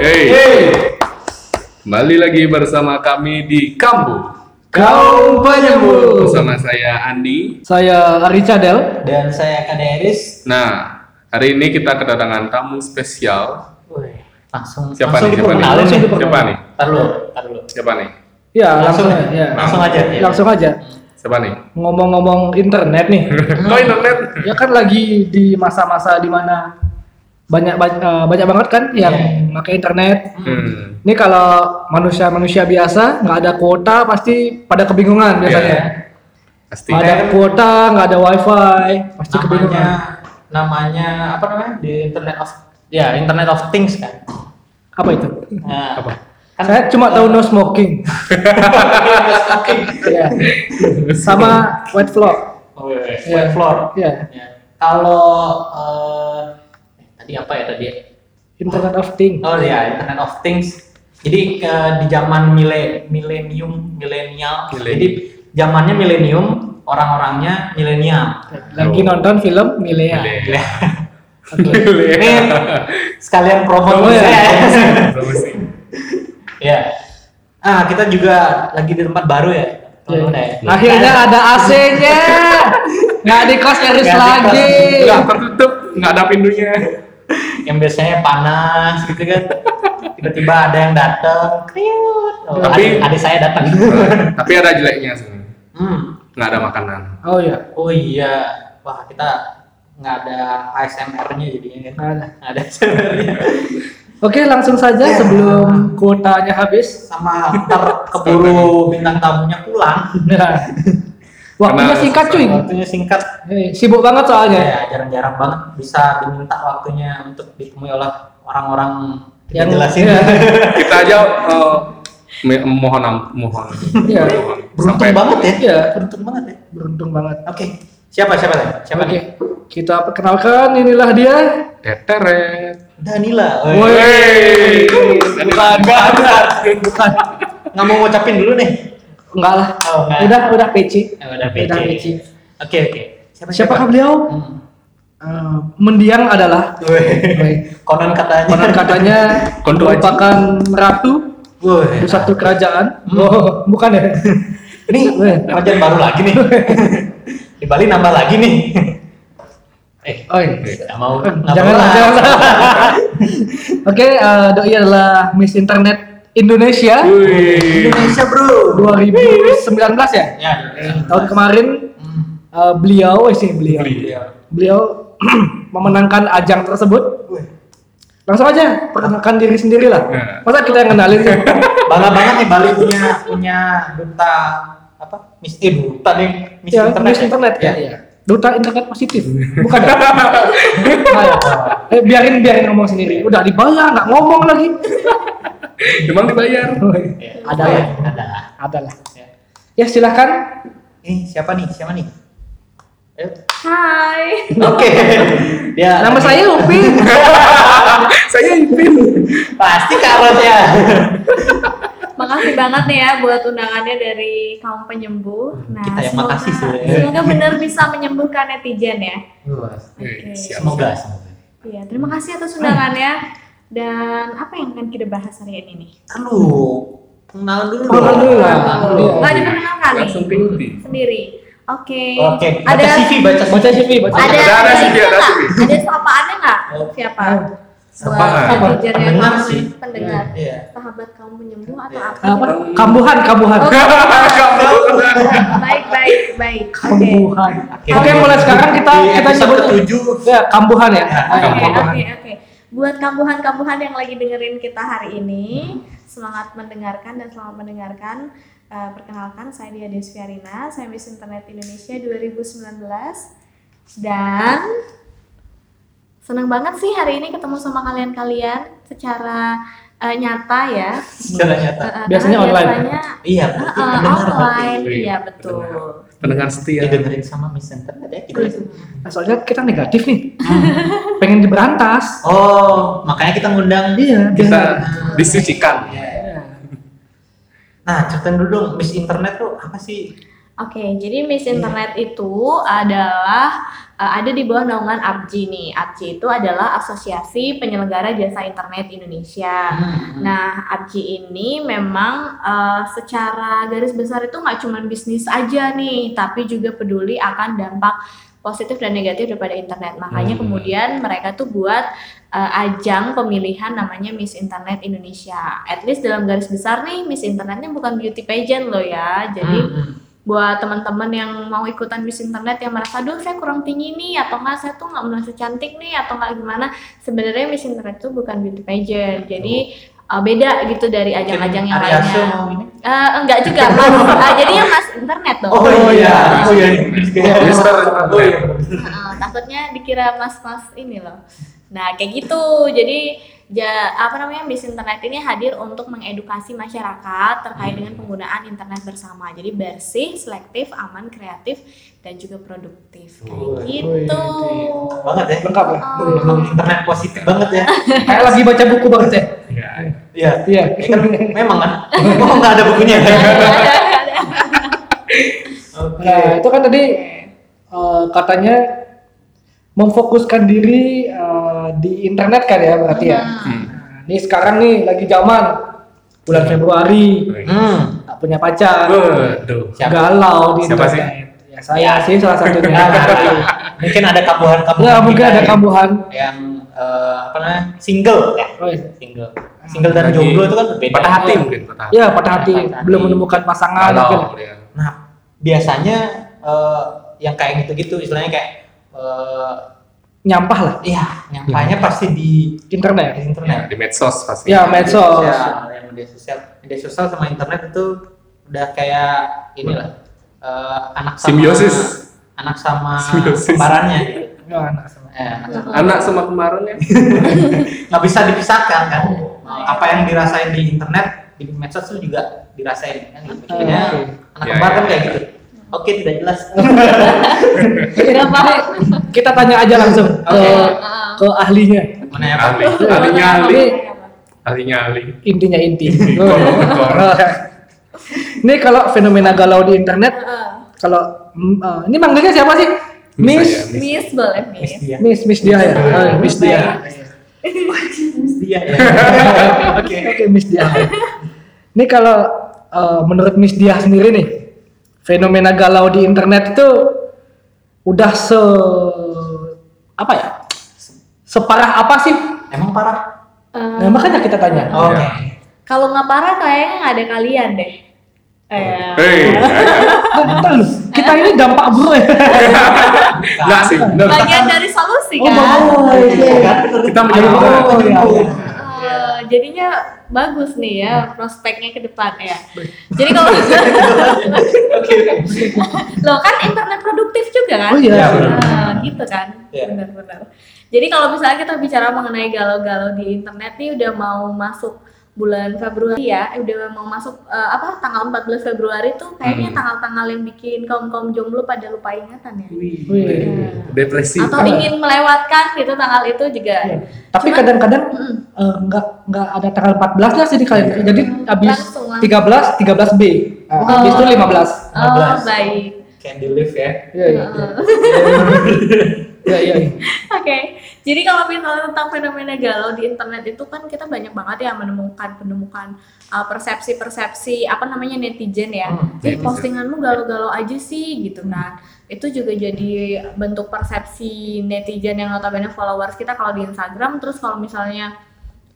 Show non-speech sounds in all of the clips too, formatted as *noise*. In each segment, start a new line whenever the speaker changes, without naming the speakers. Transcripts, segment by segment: Hey. Kembali lagi bersama kami di Kambu
Kau penyembuh.
bersama saya Andi.
Saya Ari Cadel.
dan saya Kaderis.
Nah, hari ini kita kedatangan tamu spesial.
Wih, langsung
Siapa nih? Siapa nih?
langsung diperkenalin
Langsung
nih.
Siapa
diperkenalkan.
nih?
Ntar dulu, ntar dulu.
Siapa nih?
Ya langsung,
Langsung
ya.
Langsung aja. ya.
Langsung aja.
Siapa nih?
Ngomong-ngomong internet nih,
Kok internet?
ya kan lagi di masa-masa dimana banyak ba- eh, banyak banget kan yang
Iya.
pakai internet.
Hmm.
Ini kalau manusia-manusia biasa nggak ada kuota pasti pada kebingungan biasanya.
Iya. Pasti.
Nggak ada kuota, nggak ada wifi, pasti
Namanya
kebingungan.
namanya apa namanya? Di Internet of ya Internet of Things kan.
Apa itu?
Nah,
Apa?
Kan
Saya cuma
*laughs*
tahu no smoking, ya. sama white floor.
Oh, iya, iya.
Iya.
White floor.
Iya.
Ya. Kalau eh, tadi apa ya tadi? ya?
Internet of Things.
Oh iya, Internet of Things. Jadi eh, di zaman mile milenium, milenial.
Milenium.
Jadi zamannya milenium, orang-orangnya milenial.
Lagi
Oh.
nonton film Milea.
*laughs* Boleh. *laughs*
Oke.
Boleh.
Ini sekalian promo
Promo ya.
*laughs* saya.
Promosi.
Ya. Ah, kita juga lagi di tempat baru ya. teman-teman
Iya,
ya.
Akhirnya ada AC-nya. Nggak di kos Eris
Nggak di kos.
lagi.
Udah tertutup, nggak ada pintunya.
Yang biasanya panas gitu kan. Tiba-tiba ada yang datang, kriut. Oh,
Tapi-
adik, adik saya datang.
Tapi ada jeleknya sih.
hmm.
Nggak ada makanan.
Oh iya.
Oh iya. Wah, kita nggak ada ASMR-nya jadinya
Nggak
kan.
ada.
Nggak ada ASMR-nya.
Oke, langsung saja
Iya.
sebelum kuotanya habis.
Sama ntar keburu bintang tamunya pulang.
Nah. Waktunya
Karena-
singkat cuy.
Waktunya singkat.
Eh, sibuk banget soalnya.
Ya, jarang-jarang banget bisa diminta waktunya untuk ditemui oleh orang-orang
Yang-
yang jelasin. *laughs*
iya.
Kita aja eh, me- mohon am- mohon.
Iya.
Mohon.
Beruntung banget ya.
Iya.
Beruntung banget ya.
Beruntung banget.
Oke. Siapa siapa tadi? Siapa
Oke.
nih?
Kita perkenalkan inilah dia.
Teteret.
Danila. Oh, iya. Woy.
Wey.
Bukan,
Bukan.
bukan.
Nggak mau ngucapin dulu nih.
Enggak lah.
Oh, nggak.
Udah, udah PC.
Eh, udah
Ya Udah
PC.
PC.
Oke oke.
Siapakah beliau?
Hmm.
Eh, mendiang adalah
Woy.
Woy.
Konon katanya.
konon katanya
Kondo aja.
merupakan ratu
Woy.
satu kerajaan. Oh, bukan ya?
Ini
Woy.
kerjaan baru lagi
*laughs*
nih. Di Bali nambah lagi nih. eh,
Oi.
nggak mau. nggak
Jangan
mau lah.
jangan. *laughs* Oke, eh, doi adalah Miss Internet Indonesia
Wih.
Indonesia bro.
2019 ya.
Ya.
Tahun kemarin
Hmm.
eh, beliau eh, sih beliau.
Iya.
Beliau *clears throat* memenangkan ajang tersebut.
Woy.
Langsung aja perkenalkan diri sendiri lah.
Nah.
Masa kita yang kenalin sih? *laughs*
bangga banget nih Bali punya punya duta apa Miss eh duta deh Miss
ya,
Internet
Miss
ya?
Internet
ya.
kan ya. Duta internet positif. Bukan. *laughs* ya? Nah, ya. Eh, biarin biarin ngomong sendiri. Udah dibayar nggak ngomong lagi.
Emang dibayar.
Ya,
Ada
ya
lah.
ada
Ada lah.
Ya.
Ya silahkan.
eh siapa nih siapa nih Ayo.
Hai.
oke dia
Nama saya Upin.
Saya Ipin.
pasti Carlos ya
Makasih banget nih ya buat undangannya dari kaum penyembuh. Nah,
Kita yang
semoga-
makasih sih.
Semoga benar bisa menyembuhkan netizen ya.
Wih, Siap.
semoga semoga
Iya, terima kasih atas undangannya. Dan apa yang akan kita bahas hari ini nih?
kan lu kenalan dulu dong.
Kenalan dulu lah.
Kenalan dulu.
Iya.
Nggak diperkenalkan nih.
Langsung tinggi.
Sendiri. Oke.
oke baca
Ada
CV baca CV
Baca CV, baca.
ada
Ada, ada
ada
CV,
itu
ada
nggak?
CV.
Ada sapaannya nggak? Siapa?
Sapaan.
Buat netizen yang
Oh. Pendengar
kaum-
sih.
pendengar.
Iya.
Sahabat kaum penyembuh atau
Iya.
apa?
Apa? Kambuhan, kambuhan.
Oh, Oke.
Kamu.
Baik, baik, baik. Oke.
Kambuhan.
Oke.
Oke, mulai sekarang kita
Di
kita
episode
nyebut
ketujuh.
Ya, kambuhan ya.
Ya,
Ayo.
Oke,
Kambuhan.
oke, oke. Buat kambuhan-kambuhan yang lagi dengerin kita hari ini, semangat mendengarkan dan selamat mendengarkan. Eh, perkenalkan, saya Dia Desviarina, saya Miss Internet Indonesia 2019 dan senang banget sih hari ini ketemu sama kalian-kalian secara eh, nyata ya.
secara nyata
Eh, eh,
Biasanya
karena
online.
biasanya,
iya
eh,
berarti *laughs*
eh,
pendengar berarti
online,
berarti.
iya betul.
Pendengar setia.
Iya, didengerin sama Miss Internet ya gitu ya.
Iya. Nah, soalnya kita negatif nih.
Iya.
Pengen diberantas.
*laughs* Oh, makanya kita ngundang.
Iya,
Kita
biar-
disucikan.
Nah, ceritain dulu dong, Miss Internet tuh apa sih?
Oke, jadi Miss Internet itu adalah eh, ada di bawah naungan ABJI nih. ABJI itu adalah Asosiasi Penyelenggara Jasa Internet Indonesia.
Hmm.
Nah, ABJI ini memang eh, secara garis besar itu nggak cuma bisnis aja nih, tapi juga peduli akan dampak positif dan negatif daripada internet. Makanya
Hmm.
kemudian mereka tuh buat eh, ajang pemilihan namanya Miss Internet Indonesia. At least dalam garis besar nih, Miss Internetnya bukan beauty pageant loh ya. Jadi
Hmm.
buat teman-teman yang mau ikutan bis internet yang merasa duh saya kurang tinggi nih atau enggak saya tuh nggak merasa cantik nih atau enggak gimana sebenarnya bis internet itu bukan beauty
Iya,
pageant jadi uh, beda gitu dari ajang-ajang yang
Ari Asu
lainnya
mau ini.
Eh, enggak
*laughs*
juga mas Ah, jadi yang mas internet dong
Oh iya, oh iya.
Mister.
Oh iya.
Heeh, takutnya dikira mas-mas ini loh. Nah, kayak gitu. Jadi ja- apa namanya bis internet ini hadir untuk mengedukasi masyarakat terkait dengan penggunaan internet bersama. Jadi bersih, selektif, aman, kreatif, dan juga produktif. Kayak
Wih,
gitu.
Banget ya.
Lengkap ya.
Emang
Oh.
internet positif banget ya.
Kayak lagi baca buku banget ya.
Iya.
*laughs* Iya.
Ini kan memang kan. Oh nggak ada bukunya kan?
*laughs*
Oke.
Nah, itu kan tadi eh, katanya memfokuskan diri eh, di internet kan ya berarti
Iya.
ya. Nah, Ini sekarang nih lagi zaman bulan Februari,
Hmm.
tak punya pacar,
Waduh.
Siapa?
galau di
Siapa
internet.
sih?
Ya, saya sih salah *laughs* satunya. iya.
Nah, nah, mungkin ada kabuhan-kabuhan.
Enggak, mungkin
kita
ada
yang-
kambuhan.
yang eh, apa namanya single ya
Oh, iya.
single single dan jomblo itu kan berbeda
Patah hati mungkin, patah hati.
ya, patah hati,
Patah hati.
belum menemukan pasangan. mungkin.
Kalau dia.
Nah, biasanya eh, yang kayak gitu-gitu istilahnya kayak eh
Nyampah lah
ya
Iya.
nyampainya pasti di,
internet.
Ya,
di internet.
di medsos pasti.
Ya, medsos.
Ya, yang media sosial, media sosial sama internet itu udah kayak inilah eh, anak sama
Simbiosis.
anak sama
Simbiosis.
kembarannya
*laughs*
gitu.
Ya, anak sama.
Eh, anak-
Anak sama kemarin ya.
nggak bisa dipisahkan kan. Nah, apa yang dirasain di internet di medsos itu juga dirasain kan. Gitu.
Oh,
Jadinya
oke.
anak
Ya,
kembar
ya,
kan kayak
ya.
gitu. Oke, tidak
*laughs*
jelas.
Udah paham.
Kita tanya aja langsung ke
Oke.
ke ahlinya.
Mana yang
Ahli, ahli
Pokoknya
nyali,
apa-apa, apa-apa.
ahli nyali.
Intinya inti. Oh.
Tolong, tolong.
Ini kalau fenomena galau di internet,
Heeh.
kalau mm, eh, ini manggilnya siapa sih?
Miss
Miss,
aja,
Miss boleh Miss.
Miss dia.
Miss, Miss dia ya. Oh, iya, Miss dia.
Miss dia
*laughs*
ya. Oke.
Oke, Miss dia. Ini kalau eh, menurut Miss dia sendiri nih, fenomena galau di internet itu udah se apa ya? Separah apa sih?
Emang parah?
Eh,
Nah, makanya kita tanya.
Oke.
Iya.
kalau nggak parah kayaknya nggak ada kalian deh. Eh, *laughs*
Hei,
Oh, bentar lu. Kita ini dampak buruk ya.
nggak sih, bener.
bagian dari solusi
Oh,
kan.
oh, iya.
Kita menyebutkan.
Oh, iya.
Eh, jadinya bagus nih ya prospeknya ke depan ya. Jadi kalau
Oke.
lo kan internet produktif juga kan?
Oh iya.
Iya, benar.
Nah, gitu kan?
Iya.
Benar-benar. Jadi kalau misalnya kita bicara mengenai galau-galau di internet nih udah mau masuk bulan Februari ya, eh, udah mau masuk eh, apa tanggal 14 Februari tuh kayaknya
Hmm.
tanggal-tanggal yang bikin kaum-kaum jomblo pada lupa ingatan ya.
Iya.
Wih.
Depresi.
Iya. Atau ingin melewatkan gitu tanggal itu juga.
Iya. Tapi
Cuman-
kadang-kadang
Mm.
eh, nggak nggak ada tanggal 14 nya sih di kalender. Jadi habis
Langsung,
13 13
langsung.
B. Nah, habis itu 15.
Oh,
15.
baik.
Candy live ya.
Iya iya. Iya iya. iya.
*laughs* Oke, jadi kalau misalnya tentang fenomena galau di internet itu kan kita banyak banget ya menemukan penemukan uh, persepsi-persepsi apa namanya netizen ya.
Hmm,
netizen.
Ih, postinganmu galau-galau aja sih gitu kan. Itu juga jadi bentuk persepsi netizen yang notabene followers kita kalau di Instagram. Terus kalau misalnya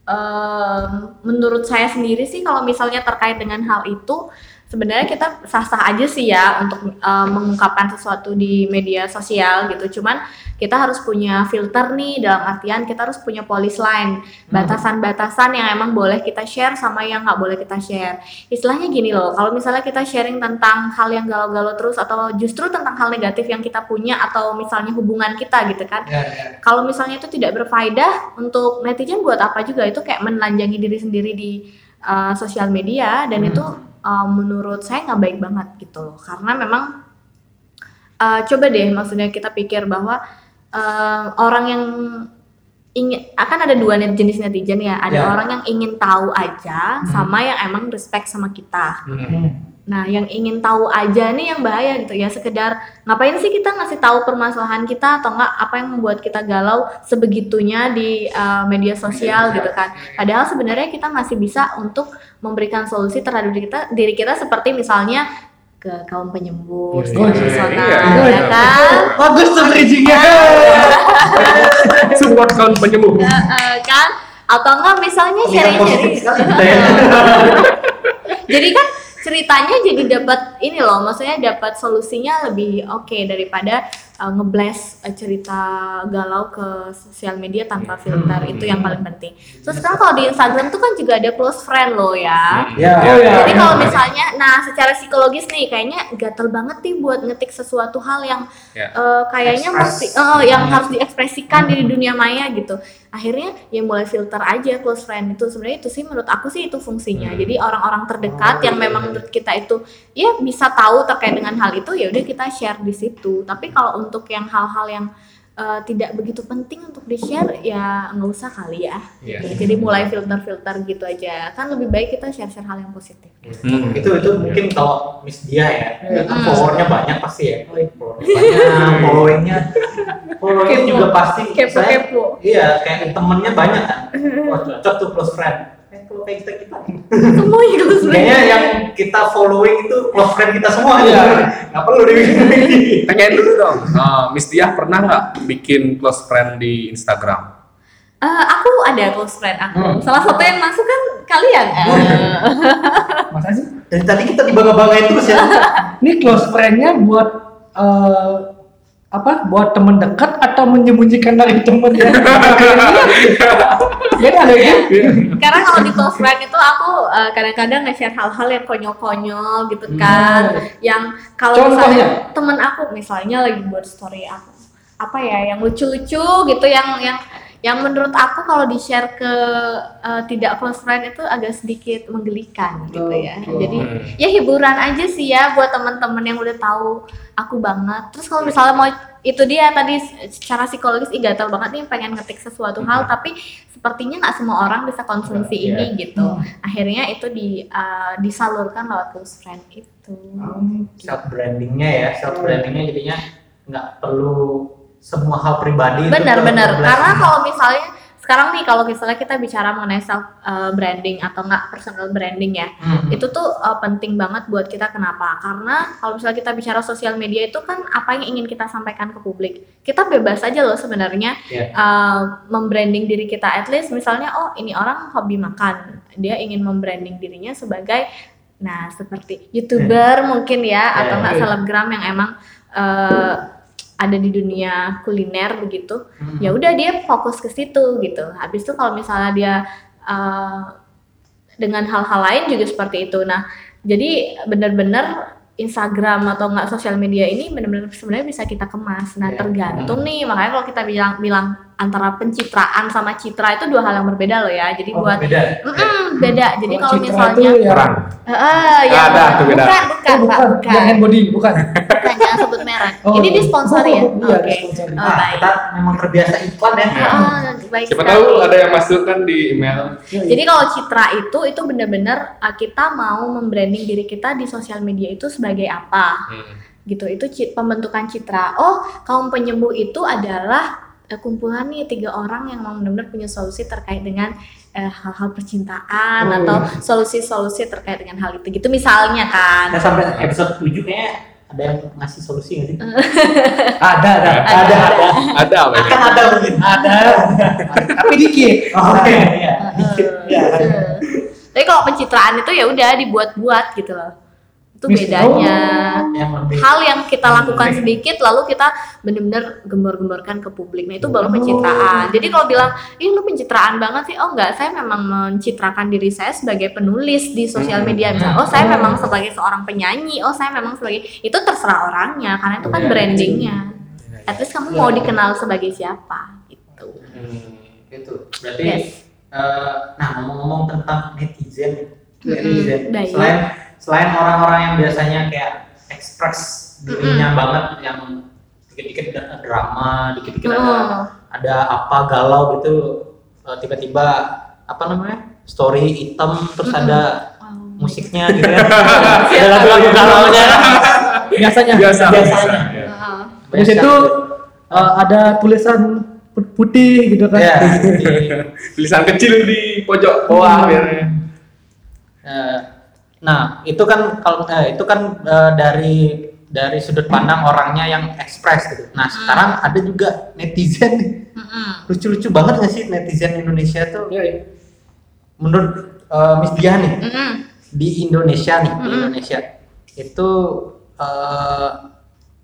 em, menurut saya sendiri sih kalau misalnya terkait dengan hal itu sebenarnya kita sah-sah aja sih ya untuk eh, mengungkapkan sesuatu di media sosial gitu. Cuman kita harus punya filter nih dalam artian kita harus punya police line, batasan-batasan yang emang boleh kita share sama yang nggak boleh kita share. Istilahnya gini loh, kalau misalnya kita sharing tentang hal yang galau-galau terus atau justru tentang hal negatif yang kita punya atau misalnya hubungan kita gitu kan.
Ya, ya.
Kalau misalnya itu tidak berfaedah untuk netizen buat apa juga itu kayak menelanjangi diri sendiri di uh, sosial media dan
Hmm.
itu uh, menurut saya nggak baik banget gitu loh karena memang uh, coba deh maksudnya kita pikir bahwa uh, orang yang ingin akan ada dua net- jenis netizen ya ada
Ya.
orang yang ingin tahu aja sama yang emang respect sama kita
Hmm.
Nah, yang ingin tahu aja nih yang bahaya gitu ya. Sekedar ngapain sih kita ngasih tahu permasalahan kita atau enggak apa yang membuat kita galau sebegitunya di uh, media sosial gitu kan. Padahal sebenarnya kita masih bisa untuk memberikan solusi terhadap diri kita diri kita seperti misalnya ke kaum
Iya,
penyembuh, secara
iya,
personal,
iya.
ya kan?
Bagus tuh bridgingnya. Iya. *laughs*
Support kaum penyembuh.
Eh, eh, kan? Atau enggak misalnya
Ini positif
sharing-sharing
sekali kita ya.
*laughs*
jadi kan ceritanya jadi dapat ini loh maksudnya dapat solusinya lebih oke daripada uh, ngeblast uh, cerita galau ke sosial media tanpa filter itu yang paling penting terus sekarang kalau di Instagram tuh kan juga ada close friend loh ya
Ya.
Oh, ya.
jadi kalau misalnya nah secara psikologis nih kayaknya gatel banget nih buat ngetik sesuatu hal yang
Ya.
eh, kayaknya mesti
Ekspres.
eh, yang harus diekspresikan di dunia maya gitu akhirnya ya mulai filter aja close friend itu sebenarnya itu sih menurut aku sih itu fungsinya jadi orang-orang terdekat yang memang menurut kita itu ya bisa tahu terkait dengan hal itu ya udah kita share di situ tapi kalau untuk yang hal-hal yang eh, tidak begitu penting untuk di share ya nggak usah kali ya
Iya.
jadi mulai filter-filter gitu aja kan lebih baik kita share-share hal yang positif
Hmm.
itu itu mungkin kalau miss dia ya
Hmm.
kan followernya banyak pasti ya
Hmm.
Followernya banyak followingnya followingnya juga pasti saya-
Kepo-kepo.
iya kayak temennya banyak
*laughs*
kan wah cocok tuh close friend Eh, kalau kayak kita kita
semuanya close friend
kayaknya yang kita following itu close friend kita semua
Iya.
ya *laughs* nggak perlu
*laughs*
dibikin
Tanyain dulu dong. Nah, Miss Diah pernah nggak bikin close friend di Instagram?
Eh, aku ada close friend aku.
Hmm.
Salah satu yang masuk kan kalian. eh.
Masa sih?
dari tadi kita dibangga-banggain terus ya
Ini close friend-nya buat eh, apa? Buat teman dekat atau menyembunyikan dari teman *laughs* yang Iya ada ya.
Karena kalau di close friend itu aku eh, kadang-kadang nge-share hal-hal yang konyol-konyol gitu
Hmm.
kan. Yang kalau
Contohnya?
misalnya temen aku misalnya lagi buat story aku apa ya yang lucu-lucu gitu yang yang yang menurut aku kalau di-share ke eh, tidak close friend itu agak sedikit menggelikan gitu ya.
Oke.
Jadi
Hmm.
ya hiburan aja sih ya buat teman-teman yang udah tahu aku banget terus kalau misalnya mau itu dia tadi secara psikologis ih gatel banget nih pengen ngetik sesuatu hal tapi sepertinya nggak semua orang bisa konsumsi
Iya.
ini gitu akhirnya itu di uh, disalurkan lewat close friend itu
Hmm.
self brandingnya ya self brandingnya jadinya nggak perlu semua hal pribadi itu ke-
benar-benar
ke-
karena kalau misalnya sekarang nih kalau misalnya kita bicara mengenai self uh, branding atau nggak personal branding ya
Hmm.
itu tuh uh, penting banget buat kita kenapa karena kalau misalnya kita bicara sosial media itu kan apa yang ingin kita sampaikan ke publik kita bebas aja loh sebenarnya
Iya.
uh, membranding diri kita at least misalnya oh ini orang hobi makan dia ingin membranding dirinya sebagai nah seperti youtuber mungkin
Iya,
ya atau nggak
iya.
selebgram yang emang uh, ada di dunia kuliner begitu
Hmm.
Mm-hmm.
ya udah dia fokus ke situ gitu habis itu kalau misalnya dia eh, dengan hal-hal lain juga seperti itu nah jadi bener-bener Instagram atau enggak sosial media ini bener-bener sebenarnya bisa kita kemas nah
Iya.
Ya.
tergantung
Mm-hmm.
nih makanya kalau kita bilang bilang antara pencitraan sama citra itu dua hal yang berbeda loh ya jadi
Oh,
buat
beda
Mm-mm, beda jadi kalau
Mm-hmm. Citra
misalnya
itu ya-
Perang.
Eh, eh, yang-
Ada, tuh beda.
bukan
Oh,
bukan Pak,
bukan,
bukan
yang hand body bukan.
Bukan, jangan sebut merek
Oh,
ini disponsori ya
iya,
oke
disponsori.
Eh,
Nah,
baik
kita memang terbiasa iklan ya
Ah, baik
Siapa
sekali.
tahu ada yang masuk kan di email.
Iya,
Jadi kalau citra itu itu benar-benar uh, kita mau membranding diri kita di sosial media itu sebagai apa
Hmm.
gitu. Itu ci- pembentukan citra. Oh, kaum penyembuh itu adalah uh, kumpulan nih tiga orang yang memang benar-benar punya solusi terkait dengan uh, hal-hal percintaan
Oh,
atau solusi-solusi terkait dengan hal itu gitu misalnya kan.
Nah, sampai episode 7 kayaknya ada yang ngasih solusi
*laughs*
nggak sih?
Ada ada.
ada, ada.
Ada apa ya?
Akan ada mungkin. Ada.
Tapi dikit.
Oke, iya.
Heeh.
Ya.
Tapi kalau pencitraan itu ya udah dibuat-buat gitu loh. Itu
Mis-
bedanya.
Yang lebih
hal yang kita lakukan sedikit lalu kita benar-benar gembor-gemborkan ke publik. Nah, itu baru pencitraan. Jadi kalau bilang, "Ih, lu pencitraan banget sih." Oh, enggak, saya memang mencitrakan diri saya sebagai penulis di sosial media. Misalnya, "Oh, saya memang sebagai seorang penyanyi." "Oh, saya memang sebagai..." Itu terserah orangnya karena itu kan
Iya.
brandingnya. At least kamu mau dikenal sebagai siapa gitu.
Hmm, gitu. Berarti
Yes.
eh, nah ngomong-ngomong tentang netizen,
Mm-mm,
netizen.
baik.
Selain selain orang-orang yang biasanya kayak ekspres dirinya banget yang dikit-dikit ada drama, dikit-dikit ada
Mm.
ada apa galau gitu eh, tiba-tiba apa namanya? story hitam terus
Mm-mm.
ada
Wow.
musiknya gitu
*laughs*
ya
*laughs*
ada lagu-lagu galaunya
biasanya
biasa biasa
Biasanya.
ya.
Heeh.
terus itu eh, ada tulisan put- putih gitu kan
ya
Kayak gitu.
di-
tulisan kecil di pojok
Hmm.
bawah biasanya
Eh, nah itu kan kalau eh, itu kan eh, dari dari sudut pandang orangnya yang ekspres gitu. Nah
Hmm.
sekarang ada juga netizen nih.
Mm-mm.
lucu-lucu banget gak sih netizen Indonesia tuh
Iya, iya.
menurut eh, Miss Diah nih
Mm-mm.
di Indonesia nih di
Mm-mm.
Indonesia itu eh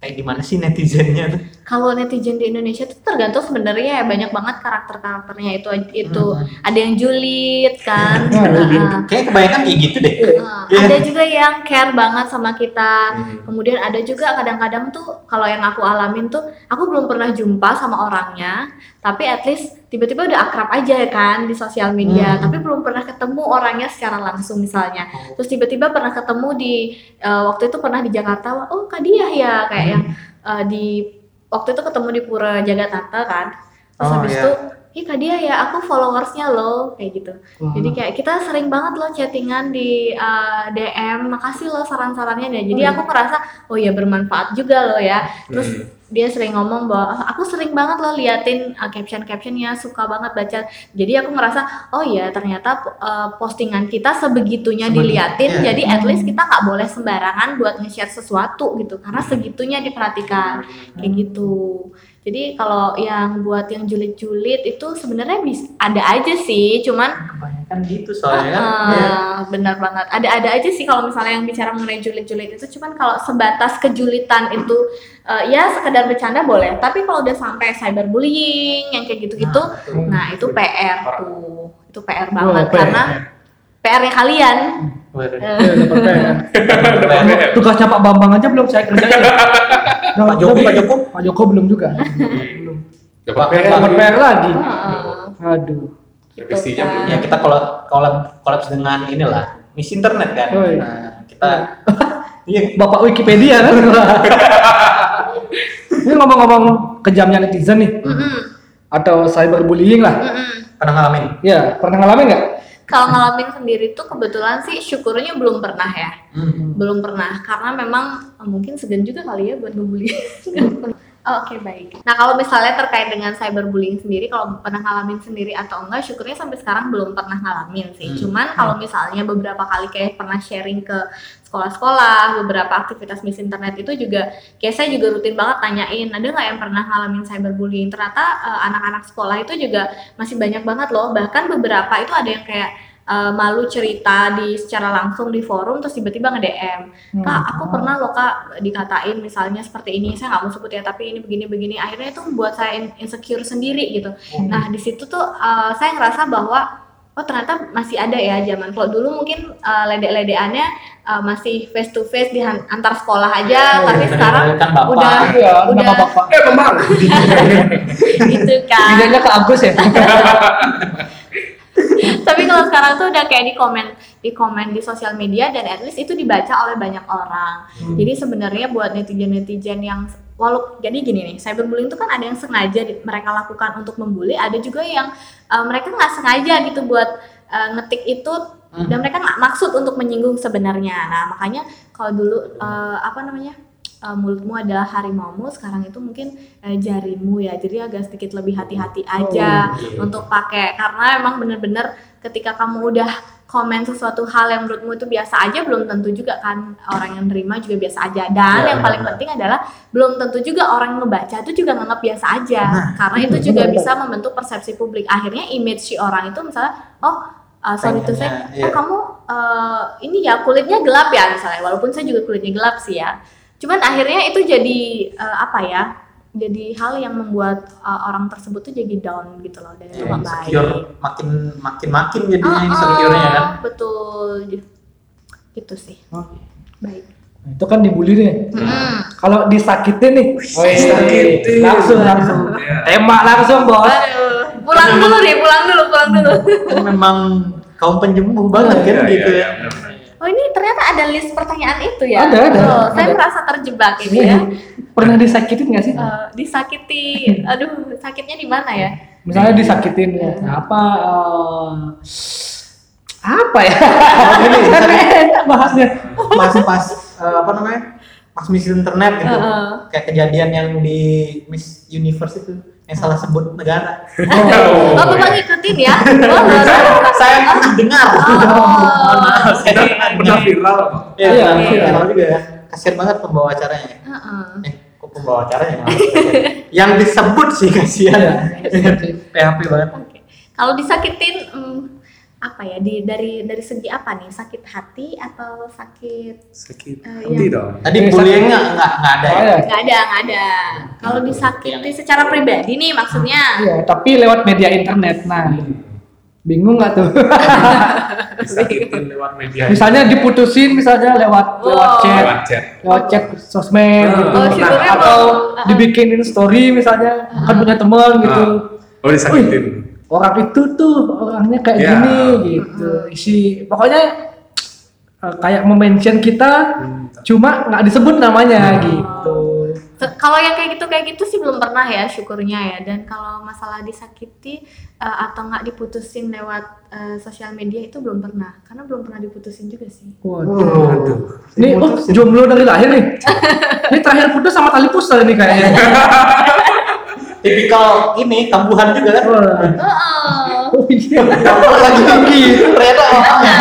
kayak gimana sih netizennya tuh?
Kalau netizen di Indonesia tuh tergantung sebenarnya ya banyak banget karakter-karakternya itu itu
Hmm.
ada yang julid kan.
Ya,
Heeh.
Kayaknya kebanyakan kayak gitu deh.
Nah,
Iya.
ada juga yang care banget sama kita.
Hmm.
Kemudian ada juga kadang-kadang tuh kalau yang aku alamin tuh aku belum pernah jumpa sama orangnya, tapi at least tiba-tiba udah akrab aja kan di sosial media,
Hmm. Oh.
tapi belum pernah ketemu orangnya secara langsung misalnya. Terus tiba-tiba pernah ketemu di eh, waktu itu pernah di Jakarta, oh Kak Diah ya kayak yang
Hmm.
eh, di waktu itu ketemu di Pura Jagatata kan. Terus
Oh,
habis
iya.
itu, ih Kak Diah ya aku followersnya loh kayak gitu. Jadi kayak kita sering banget loh chattingan di uh, DM, makasih loh saran-sarannya ya. Jadi aku ngerasa oh ya bermanfaat juga loh ya. Terus
Hmm.
dia sering ngomong bahwa "Ah, aku sering banget loh liatin uh, caption-captionnya, suka banget baca. Jadi aku ngerasa oh ya ternyata uh, postingan kita sebegitunya
Sebegitunya.
diliatin. Jadi at least kita nggak boleh sembarangan buat nge-share sesuatu gitu karena segitunya diperhatikan kayak gitu. Jadi kalau yang buat yang julid-julid itu sebenarnya bisa ada aja sih, cuman
Kebanyakan gitu soalnya.
Ah,
Iya.
benar banget. Ada-ada aja sih kalau misalnya yang bicara mengenai julid-julid itu cuman kalau sebatas kejulitan itu eh, ya sekedar bercanda boleh, tapi kalau udah sampai cyberbullying yang kayak gitu-gitu, nah, itu PR tuh. Itu PR banget
PR.
karena PR-nya kalian. Eh,
Waduh.
Iya, dapat
*laughs*
PR.
Pak
ah.
tugasnya Pak Bambang aja belum saya kerjain Nah,
Joko,
belum.
*laughs* Pak Joko.
Pak Joko belum juga
Dapat
Pak-
PR.
dapat PR lagi
Heeh.
aduh
Revisinya
kan.
belum.
Ya kita kalau kolab kolaps dengan inilah Miss Internet kan.
Oh, iya.
Nah, kita *laughs* iya
Bapak Wikipedia
*laughs*
kan ini ngomong-ngomong kejamnya netizen nih
Mm-mm,
atau cyberbullying lah
mm-mm.
pernah ngalamin.
ya pernah ngalamin nggak
Kalau ngalamin sendiri tuh kebetulan sih syukurnya belum pernah ya.
Hmm.
belum pernah karena memang eh, mungkin segan juga kali ya buat
*laughs*
ngebully Oh, Oke baik. Nah kalau misalnya terkait dengan cyberbullying sendiri, kalau pernah ngalamin sendiri atau enggak, syukurnya sampai sekarang belum pernah ngalamin sih.
Hmm.
Cuman kalau misalnya beberapa kali kayak pernah sharing ke sekolah-sekolah, beberapa aktivitas miss internet itu juga, kayak saya juga rutin banget tanyain, ada nggak yang pernah ngalamin cyberbullying? Ternyata eh, anak-anak sekolah itu juga masih banyak banget loh. Bahkan beberapa itu ada yang kayak eh, malu cerita di secara langsung di forum, terus tiba-tiba nge DM
Hmm.
kak aku pernah loh kak dikatain misalnya seperti ini saya nggak mau sebut ya tapi ini begini begini akhirnya itu membuat saya in- insecure sendiri gitu nah di situ tuh uh, saya ngerasa bahwa oh ternyata masih ada ya zaman kalau dulu mungkin uh, ledek-ledekannya uh, masih face to face di han- antar sekolah aja tapi
*laughs*
sekarang
Kan bapak.
udah
Iya,
udah
nama bapak.
Eh
*laughs*
Bambang.
gitu kan
Lidahnya ke Agus ya.
tapi kalau sekarang tuh udah kayak di komen di komen di sosial media dan at least itu dibaca oleh banyak orang jadi sebenarnya buat netizen netizen yang walau jadi gini nih cyberbullying itu kan ada yang sengaja di- mereka lakukan untuk membuli ada juga yang eh, mereka nggak sengaja gitu buat eh, ngetik itu
Hmm.
dan mereka nggak maksud untuk menyinggung sebenarnya nah makanya kalau dulu eh, apa namanya eh, mulutmu adalah harimaumu sekarang itu mungkin eh, jarimu ya jadi agak sedikit lebih hati-hati aja untuk pakai karena emang bener-bener ketika kamu udah komen sesuatu hal yang menurutmu itu biasa aja belum tentu juga kan orang yang nerima juga biasa aja
Ya,
dan yang paling
benar.
penting adalah belum tentu juga orang yang ngebaca itu juga nganggap biasa aja
Nah,
karena itu
benar,
juga
benar.
bisa membentuk persepsi publik akhirnya image si orang itu misalnya oh uh, sorry to say
Pengennya,
eh
iya.
kamu eh, ini ya kulitnya gelap ya misalnya walaupun saya juga kulitnya gelap sih ya cuman akhirnya itu jadi eh, apa ya jadi hal yang membuat eh, orang tersebut tuh jadi down gitu loh dan itu
Ya,
nggak
insecure
baik
makin makin makin jadinya
Oh,
insecure-nya
ya?
kan.
oh, betul gitu sih baik
Nah, Itu kan dibully nih.
Mm-mm.
Kalau disakitin nih,
Wih, sakitin.
langsung langsung
Iya,
tembak langsung bos.
Waduh, pulang dulu nih pulang dulu pulang dulu
Kan memang kaum penjemu banget kan
Iya,
gitu
iya, iya,
ya.
benar.
oh ini ternyata ada list pertanyaan itu ya
Ada, ada,
Oh, saya
ada. Iya.
merasa terjebak ini ya
Pernah disakitin nggak sih?
Eh, disakiti aduh sakitnya di mana ya
Nah, Misalnya disakitin ya, apa? eh, apa ya? *laughs* Karena enak bahasnya.
pas pas eh, apa namanya pas Miss Internet gitu
Heeh.
kayak kejadian yang di Miss Universe itu yang salah sebut negara
*laughs*
Oh,
Oh,
ya.
Bapak ngikutin
*laughs*
ya? Oh, baru-
saya pernah
*laughs*
dengar
Oh.
Kita pernah viral kok.
ya,
Iya,
pernah
iya.
viral juga ya kasian banget pembawa acaranya ya.
Heeh.
eh kok pembawa
*laughs*
acaranya yang malah- yang disebut sih
Iya,
kasihan PHP banget
Oke. Kalau disakitin hmm, apa ya di dari dari segi apa nih? Sakit hati atau sakit
Sakit
Eh,
hati
iya.
dong.
tadi
Iya,
bullyingnya nggak nggak
Oh,
ada ya
iya.
nggak ada, nggak ada. Kalau disakiti secara pribadi nih maksudnya.
Iya, tapi lewat media internet. Nah, bingung nggak *laughs* tuh?
Disakitin lewat media.
misalnya diputusin, misalnya lewat lewat
Oh.
chat,
lewat chat.
lewat chat sosmed,
Oh,
gitu.
syukurnya
atau
belum.
dibikinin story misalnya, kan punya teman gitu.
Ah, Oh disakitin.
Orang itu tuh orangnya kayak
Ya.
gini gitu. Isi pokoknya eh, kayak mention kita, cuma nggak disebut namanya gitu.
Se- Kalau yang kayak gitu kayak gitu sih belum pernah ya syukurnya ya. Dan kalau masalah disakiti eh, atau nggak diputusin lewat eh, sosial media itu belum pernah. Karena belum pernah diputusin juga sih.
Waduh.
Hmm. Waduh.
iya. Ini oh, jomblo dari lahir nih. ini terakhir putus sama tali pusar ini kayaknya.
tipikal ini kambuhan juga kan
Wah.
Oh,
Oh, iya.
*laughs* Kambuhan lagi tinggi ternyata orangnya
saya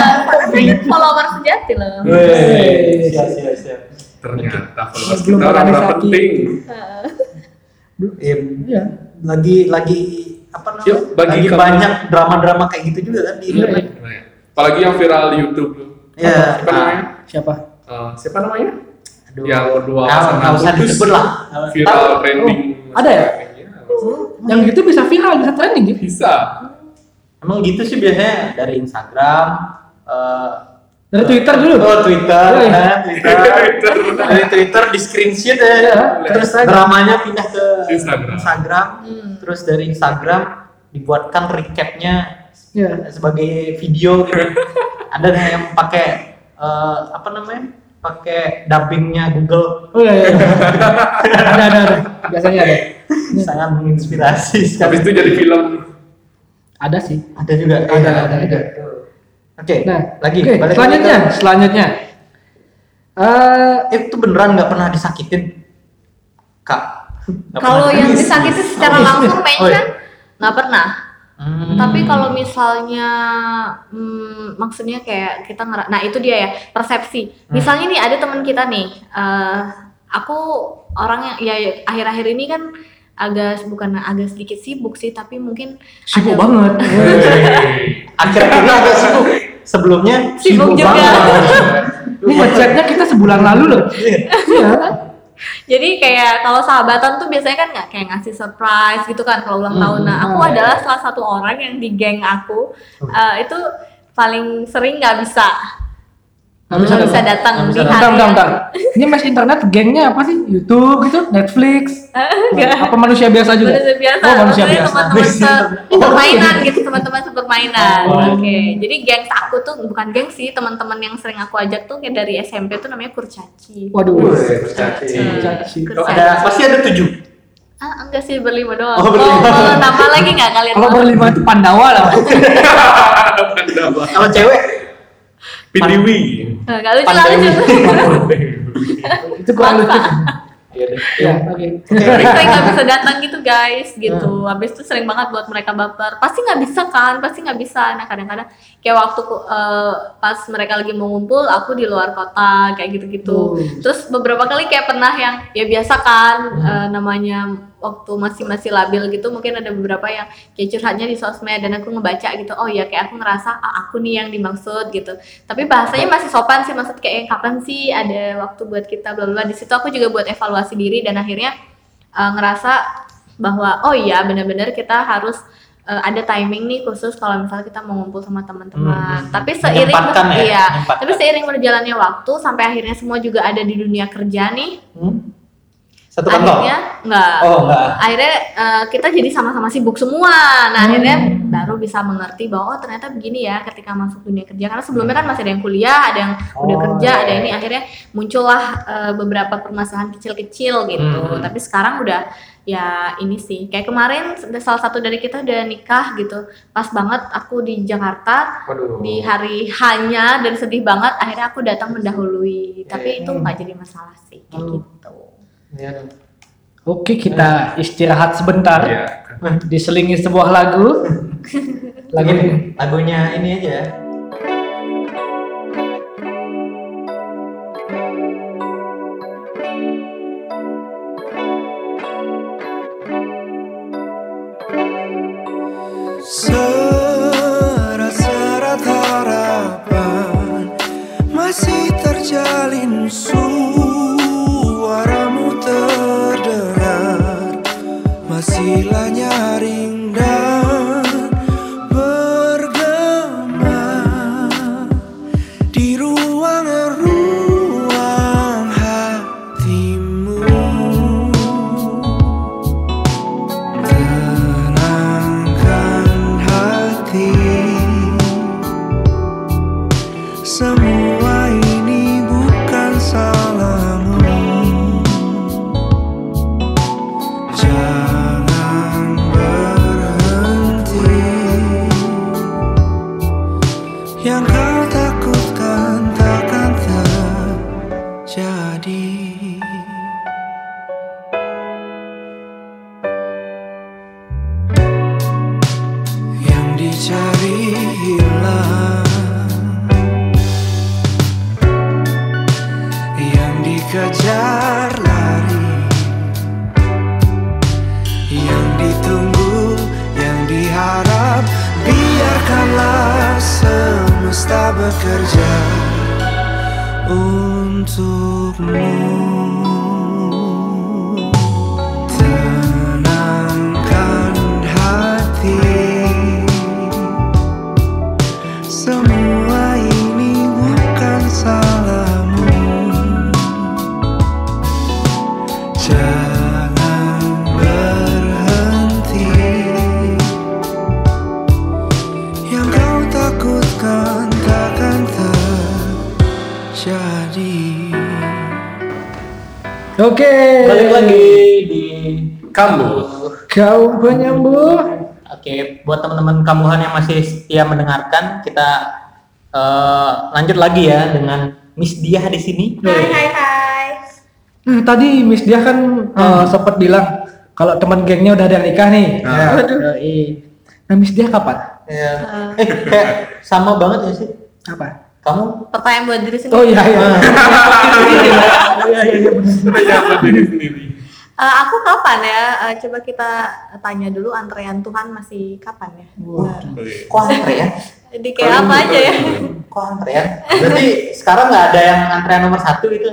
Nah, *laughs* follower sejati
Iya.
loh.
Wih, siap siap siap
Ternyata followers
Belum
kita orang-orang
organisasi.
penting.
Iya,
Iya.
lagi lagi apa namanya?
Yuk, bagi
lagi
kamu.
banyak drama-drama kayak gitu juga kan di
Iya,
internet.
Apalagi yang viral di YouTube.
Iya.
Siapa namanya?
Siapa?
Eh, siapa namanya?
Aduh.
Yang dua
Nggak-
pasangan
nggak usah
putus.
disebut lah.
Viral trending.
ada ya?
Iya,
Yang gitu bisa viral, bisa trending gitu.
Bisa.
Emang gitu sih biasanya dari Instagram eh,
Dari Twitter dulu.
Oh, Twitter,
Iya, iya.
kan,
*laughs*
Twitter. dari Twitter di screenshot ya.
Iya,
Terus
terus aja.
dramanya pindah ke
Instagram.
Instagram.
Hmm.
Terus dari Instagram dibuatkan recapnya
Iya.
sebagai video
*laughs*
gitu. ada nih yang pakai eh, apa namanya pakai dubbingnya
*laughs*
Google
Oh iya, iya. ada, ada, ada. Biasanya ada.
sangat menginspirasi
Habis
sekali
itu jadi film.
Ada sih.
ada juga
Ada, ada, ada.
oke
Nah,
lagi
oke,
balik
selanjutnya,
lagi
selanjutnya. Eh,
ke- itu beneran nggak pernah disakitin kak Nggak
Kalau
pernah
yang
nangis.
disakiti secara
Oh, iya.
langsung
Oh, iya.
mention nggak pernah.
Hmm.
Tapi kalau misalnya hmm, maksudnya kayak kita ngera nah itu dia ya persepsi.
Hmm.
Misalnya nih ada teman kita nih, eh, aku orang yang ya ya, akhir-akhir ini kan agak bukan agak sedikit sibuk sih, tapi mungkin
sibuk
ada-
banget.
akhir-akhir ini agak sibuk sebelumnya
Sibuk juga.
Ini ngechatnya kita sebulan lalu loh. Iya.
Jadi kayak kalau sahabatan tuh biasanya kan nggak kayak ngasih surprise gitu kan kalau ulang tahun. Nah, aku
Hmm.
adalah salah satu orang yang di geng aku eh, itu paling sering nggak bisa
Nggak bisa
nggak bisa
datang.
datang
Nggak
di
bisa
hari.
Bentar, bentar,
*laughs*
bentar. Ini mas internet gengnya apa sih? YouTube gitu, Netflix.
Enggak.
Apa manusia biasa juga?
Manusia biasa,
Oh, manusia
maksudnya
biasa.
teman-teman se
Oh, iya.
permainan gitu, teman-teman sepermainan.
Oh.
Oke, jadi geng aku tuh bukan geng sih, teman-teman yang sering aku ajak tuh kayak dari SMP tuh namanya kurcaci. Eh,
Waduh.
Kurcaci.
Kurcaci.
Oh, ada pasti ada tujuh
Ah, enggak sih berlima doang.
Oh, berlima.
Kalau kalau nambah lagi nggak kalian?
Kalau Oh, berlima itu Pandawa *laughs* lah.
kalau cewek
Pidiwi.
Eh, Nggak lucu lah
Pandai.
lucu.
itu kurang lucu.
Iya deh.
Ya, oke.
sering nggak bisa datang gitu guys gitu habis itu sering banget buat mereka baper pasti nggak bisa kan pasti nggak bisa nah kadang-kadang kayak waktu ku- eh, pas mereka lagi mau ngumpul aku di luar kota kayak gitu-gitu
Oh.
Hmm.
terus beberapa kali kayak pernah yang ya biasa kan eh, namanya waktu masih masih labil gitu mungkin ada beberapa yang kayak curhatnya di sosmed dan aku ngebaca gitu oh ya kayak aku ngerasa ah, aku nih yang dimaksud gitu tapi bahasanya masih sopan sih maksud kayak "Eh, kapan sih ada waktu buat kita bla bla bla. di situ aku juga buat evaluasi diri dan akhirnya eh, ngerasa bahwa oh iya benar-benar kita harus eh, ada timing nih khusus kalau misalnya kita mau ngumpul sama teman-teman.
Hmm.
Tapi seiring
Menyempatkan ya,
iya,
menyempatkan.
tapi seiring berjalannya waktu sampai akhirnya semua juga ada di dunia kerja nih.
Hmm? satu kantor
Akhirnya enggak
oh enggak
akhirnya eh, kita jadi sama-sama sibuk semua.
Hmm.
Nah, akhirnya baru bisa mengerti bahwa oh ternyata begini ya ketika masuk dunia kerja. Karena sebelumnya kan masih ada yang kuliah, ada yang udah
Oh,
kerja, ada
iya.
ini akhirnya muncullah eh, beberapa permasalahan kecil-kecil gitu.
Hmm.
Tapi sekarang udah ya ini sih kayak kemarin salah satu dari kita udah nikah gitu pas banget aku di Jakarta
Waduh.
di hari hanya dan sedih banget akhirnya aku datang
Iya,
mendahului tapi itu nggak jadi masalah sih kayak
Hmm.
gitu
Iya.
Oke, kita istirahat sebentar.
Iya.
Diselingi sebuah lagu. lagu ini.
Lagunya, lagunya ini aja.
Serat-serat harapan masih terjalin suaramu terdengar masihlah nyaring dan bergema di ruang-ruang hatimu. Tenangkan hati Semua ini bukan salahmu Jangan berhenti Yang kau takutkan takkan terjadi yang dicari hilang, yang dikejar lari, yang ditunggu, yang diharap, biarkanlah semesta bekerja untukmu. Tenangkan hati Semua ini bukan salahmu Jangan berhenti Yang kau takutkan takkan terjadi
Oke.
Balik lagi di
Kamu.
Kau penyembuh.
Oke, buat teman-teman kambuhan yang masih setia mendengarkan, kita eh, lanjut lagi ya dengan Miss Diah di sini.
hai hai hai
Nah, tadi Miss Dia kan eh, sempat bilang kalau teman gengnya udah ada yang nikah nih.
Ah.
Aduh. Nah, Miss Dia kapan?
Iya. Eh, kayak sama banget ya sih.
Apa?
Kamu
pertanyaan buat diri sendiri
Oh iya iya.
Ah. Iya,
Ternyata diri sendiri.
Eh, aku kapan ya Eh, coba kita tanya dulu antrean Tuhan masih kapan ya
Oke.
kok antre ya?
Eh, di kayak apa aja ya
Kok antre ya? Berarti sekarang nggak ada yang antrean nomor satu gitu.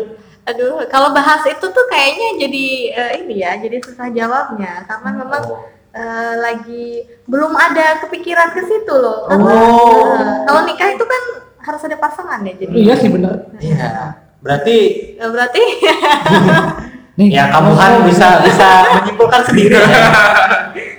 Aduh, kalau bahas itu tuh kayaknya jadi eh, ini ya, jadi susah jawabnya karena memang
Oh.
eh, lagi belum ada kepikiran ke situ loh. Karena
Oh.
eh, kalau nikah itu kan harus ada pasangan ya, jadi
Iya sih benar.
Iya. Berarti
eh, berarti *laughs*
Nih.
ya kambuhan bisa bisa menyimpulkan sendiri. ya.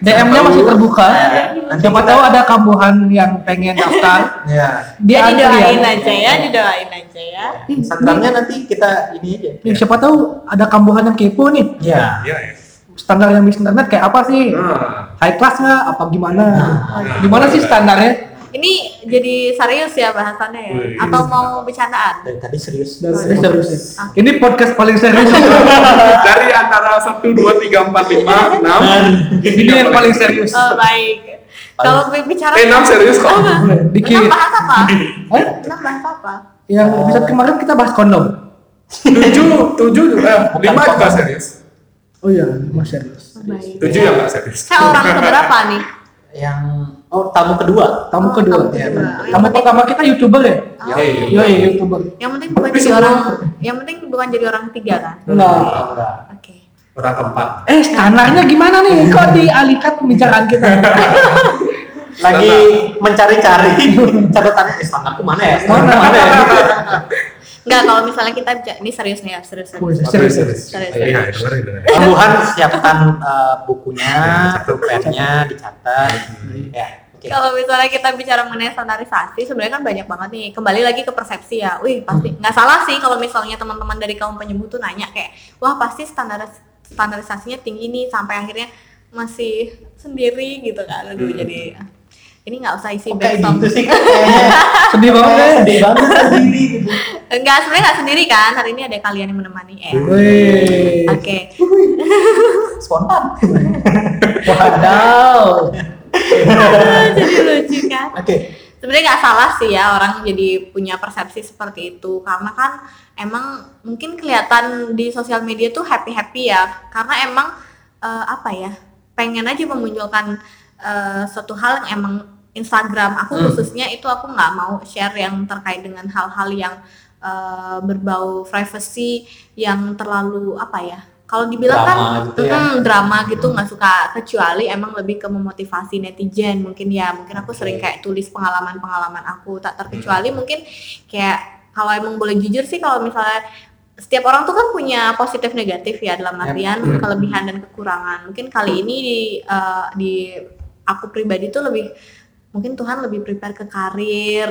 DM-nya masih terbuka.
Eh, Nanti
Siapa
kita-
tahu ada kambuhan yang pengen daftar.
Iya.
ya
*laughs* Dia
didoain
antrian.
aja ya, didoain aja ya.
Instagramnya nanti kita ini aja.
Nih, siapa tahu ada kambuhan yang kepo nih.
Iya.
Iya ya.
Standar yang Miss Internet kayak apa sih?
Hmm.
Nah,
High class nggak? Apa gimana?
Ah.
Nah.
Gimana sih standarnya?
Ini jadi serius ya bahasannya ya,
Wih.
atau mau bercandaan?
Dari tadi serius.
Serius, serius. Ini podcast paling serius.
Dari antara 1, 2, 3, 4, 5, 6
Ini yang paling serius.
Oh, baik. Kalau bicara
Eh 6 serius kok
Enam
Dikit.
bahas
*laughs*
apa?
Eh?
Enam bahas apa?
Yang episode kemarin kita bahas kondom.
7, 7 juga 5
Bukan
juga
kok.
serius
Oh iya, mas serius.
Baik.
7 yang gak serius
Saya orang keberapa nih?
Yang oh tamu kedua.
Tamu kedua.
tamu kedua.
Iya. Tamu pertama kita youtuber ya?
Yoi.
Iya, iya youtuber.
Yang penting bukan
Tapi
jadi
sebelum-
orang, yang penting bukan jadi orang ketiga kan?
Nah,
Oke.
Orang keempat
eh standarnya gimana nih? Kok dialihkan pembicaraan kita?
Lagi mencari-cari *laughs* catatannya eh, standarku mana ya?
Mana,
Mana ya? *laughs*
Enggak kalau misalnya kita bica- ini serius nih ya, serius. serius.
Serius, serius.
Serius.
Iya iya, dengerin dengerin.
Kambuhan siapkan eh, bukunya,
Catat.
pennya dicatat.
Hmm.
Ya. Oke.
Kalau misalnya kita bicara mengenai standarisasi, sebenarnya kan banyak banget nih. Kembali lagi ke persepsi
Hmm.
ya. Wih, pasti nggak salah sih kalau misalnya teman-teman dari kaum penyembuh tuh nanya kayak, wah pasti standar standarisasinya tinggi nih sampai akhirnya masih sendiri gitu kan aduh jadi ini nggak usah isi
Hmm. Kok kayak
backsound
gitu sih
*laughs*
kayaknya
Sedih banget
Kayak
ya.
sedih banget sendiri gitu
enggak sebenarnya nggak sendiri kan hari ini ada kalian yang menemani eh oke
Wih.
Iya.
*laughs*
spontan
Wadaw.
jadi lucu kan
oke
sebenarnya nggak salah sih ya orang jadi punya persepsi seperti itu karena kan emang mungkin kelihatan di sosial media tuh happy happy ya karena emang eh, apa ya pengen aja memunculkan eh, suatu hal yang emang Instagram aku
Hmm.
khususnya itu aku nggak mau share yang terkait dengan hal-hal yang eh, berbau privacy yang terlalu apa ya kalau dibilang kan
Drama gitu ya.
Mm, drama gitu nggak suka kecuali emang lebih ke memotivasi netizen mungkin ya mungkin aku
Oke.
sering kayak tulis pengalaman pengalaman aku tak terkecuali mungkin kayak kalau emang boleh jujur sih kalau misalnya setiap orang tuh kan punya positif negatif ya dalam
Yap.
artian
Hmm.
kelebihan dan kekurangan mungkin kali ini di eh, di aku pribadi tuh lebih mungkin Tuhan lebih prepare ke karir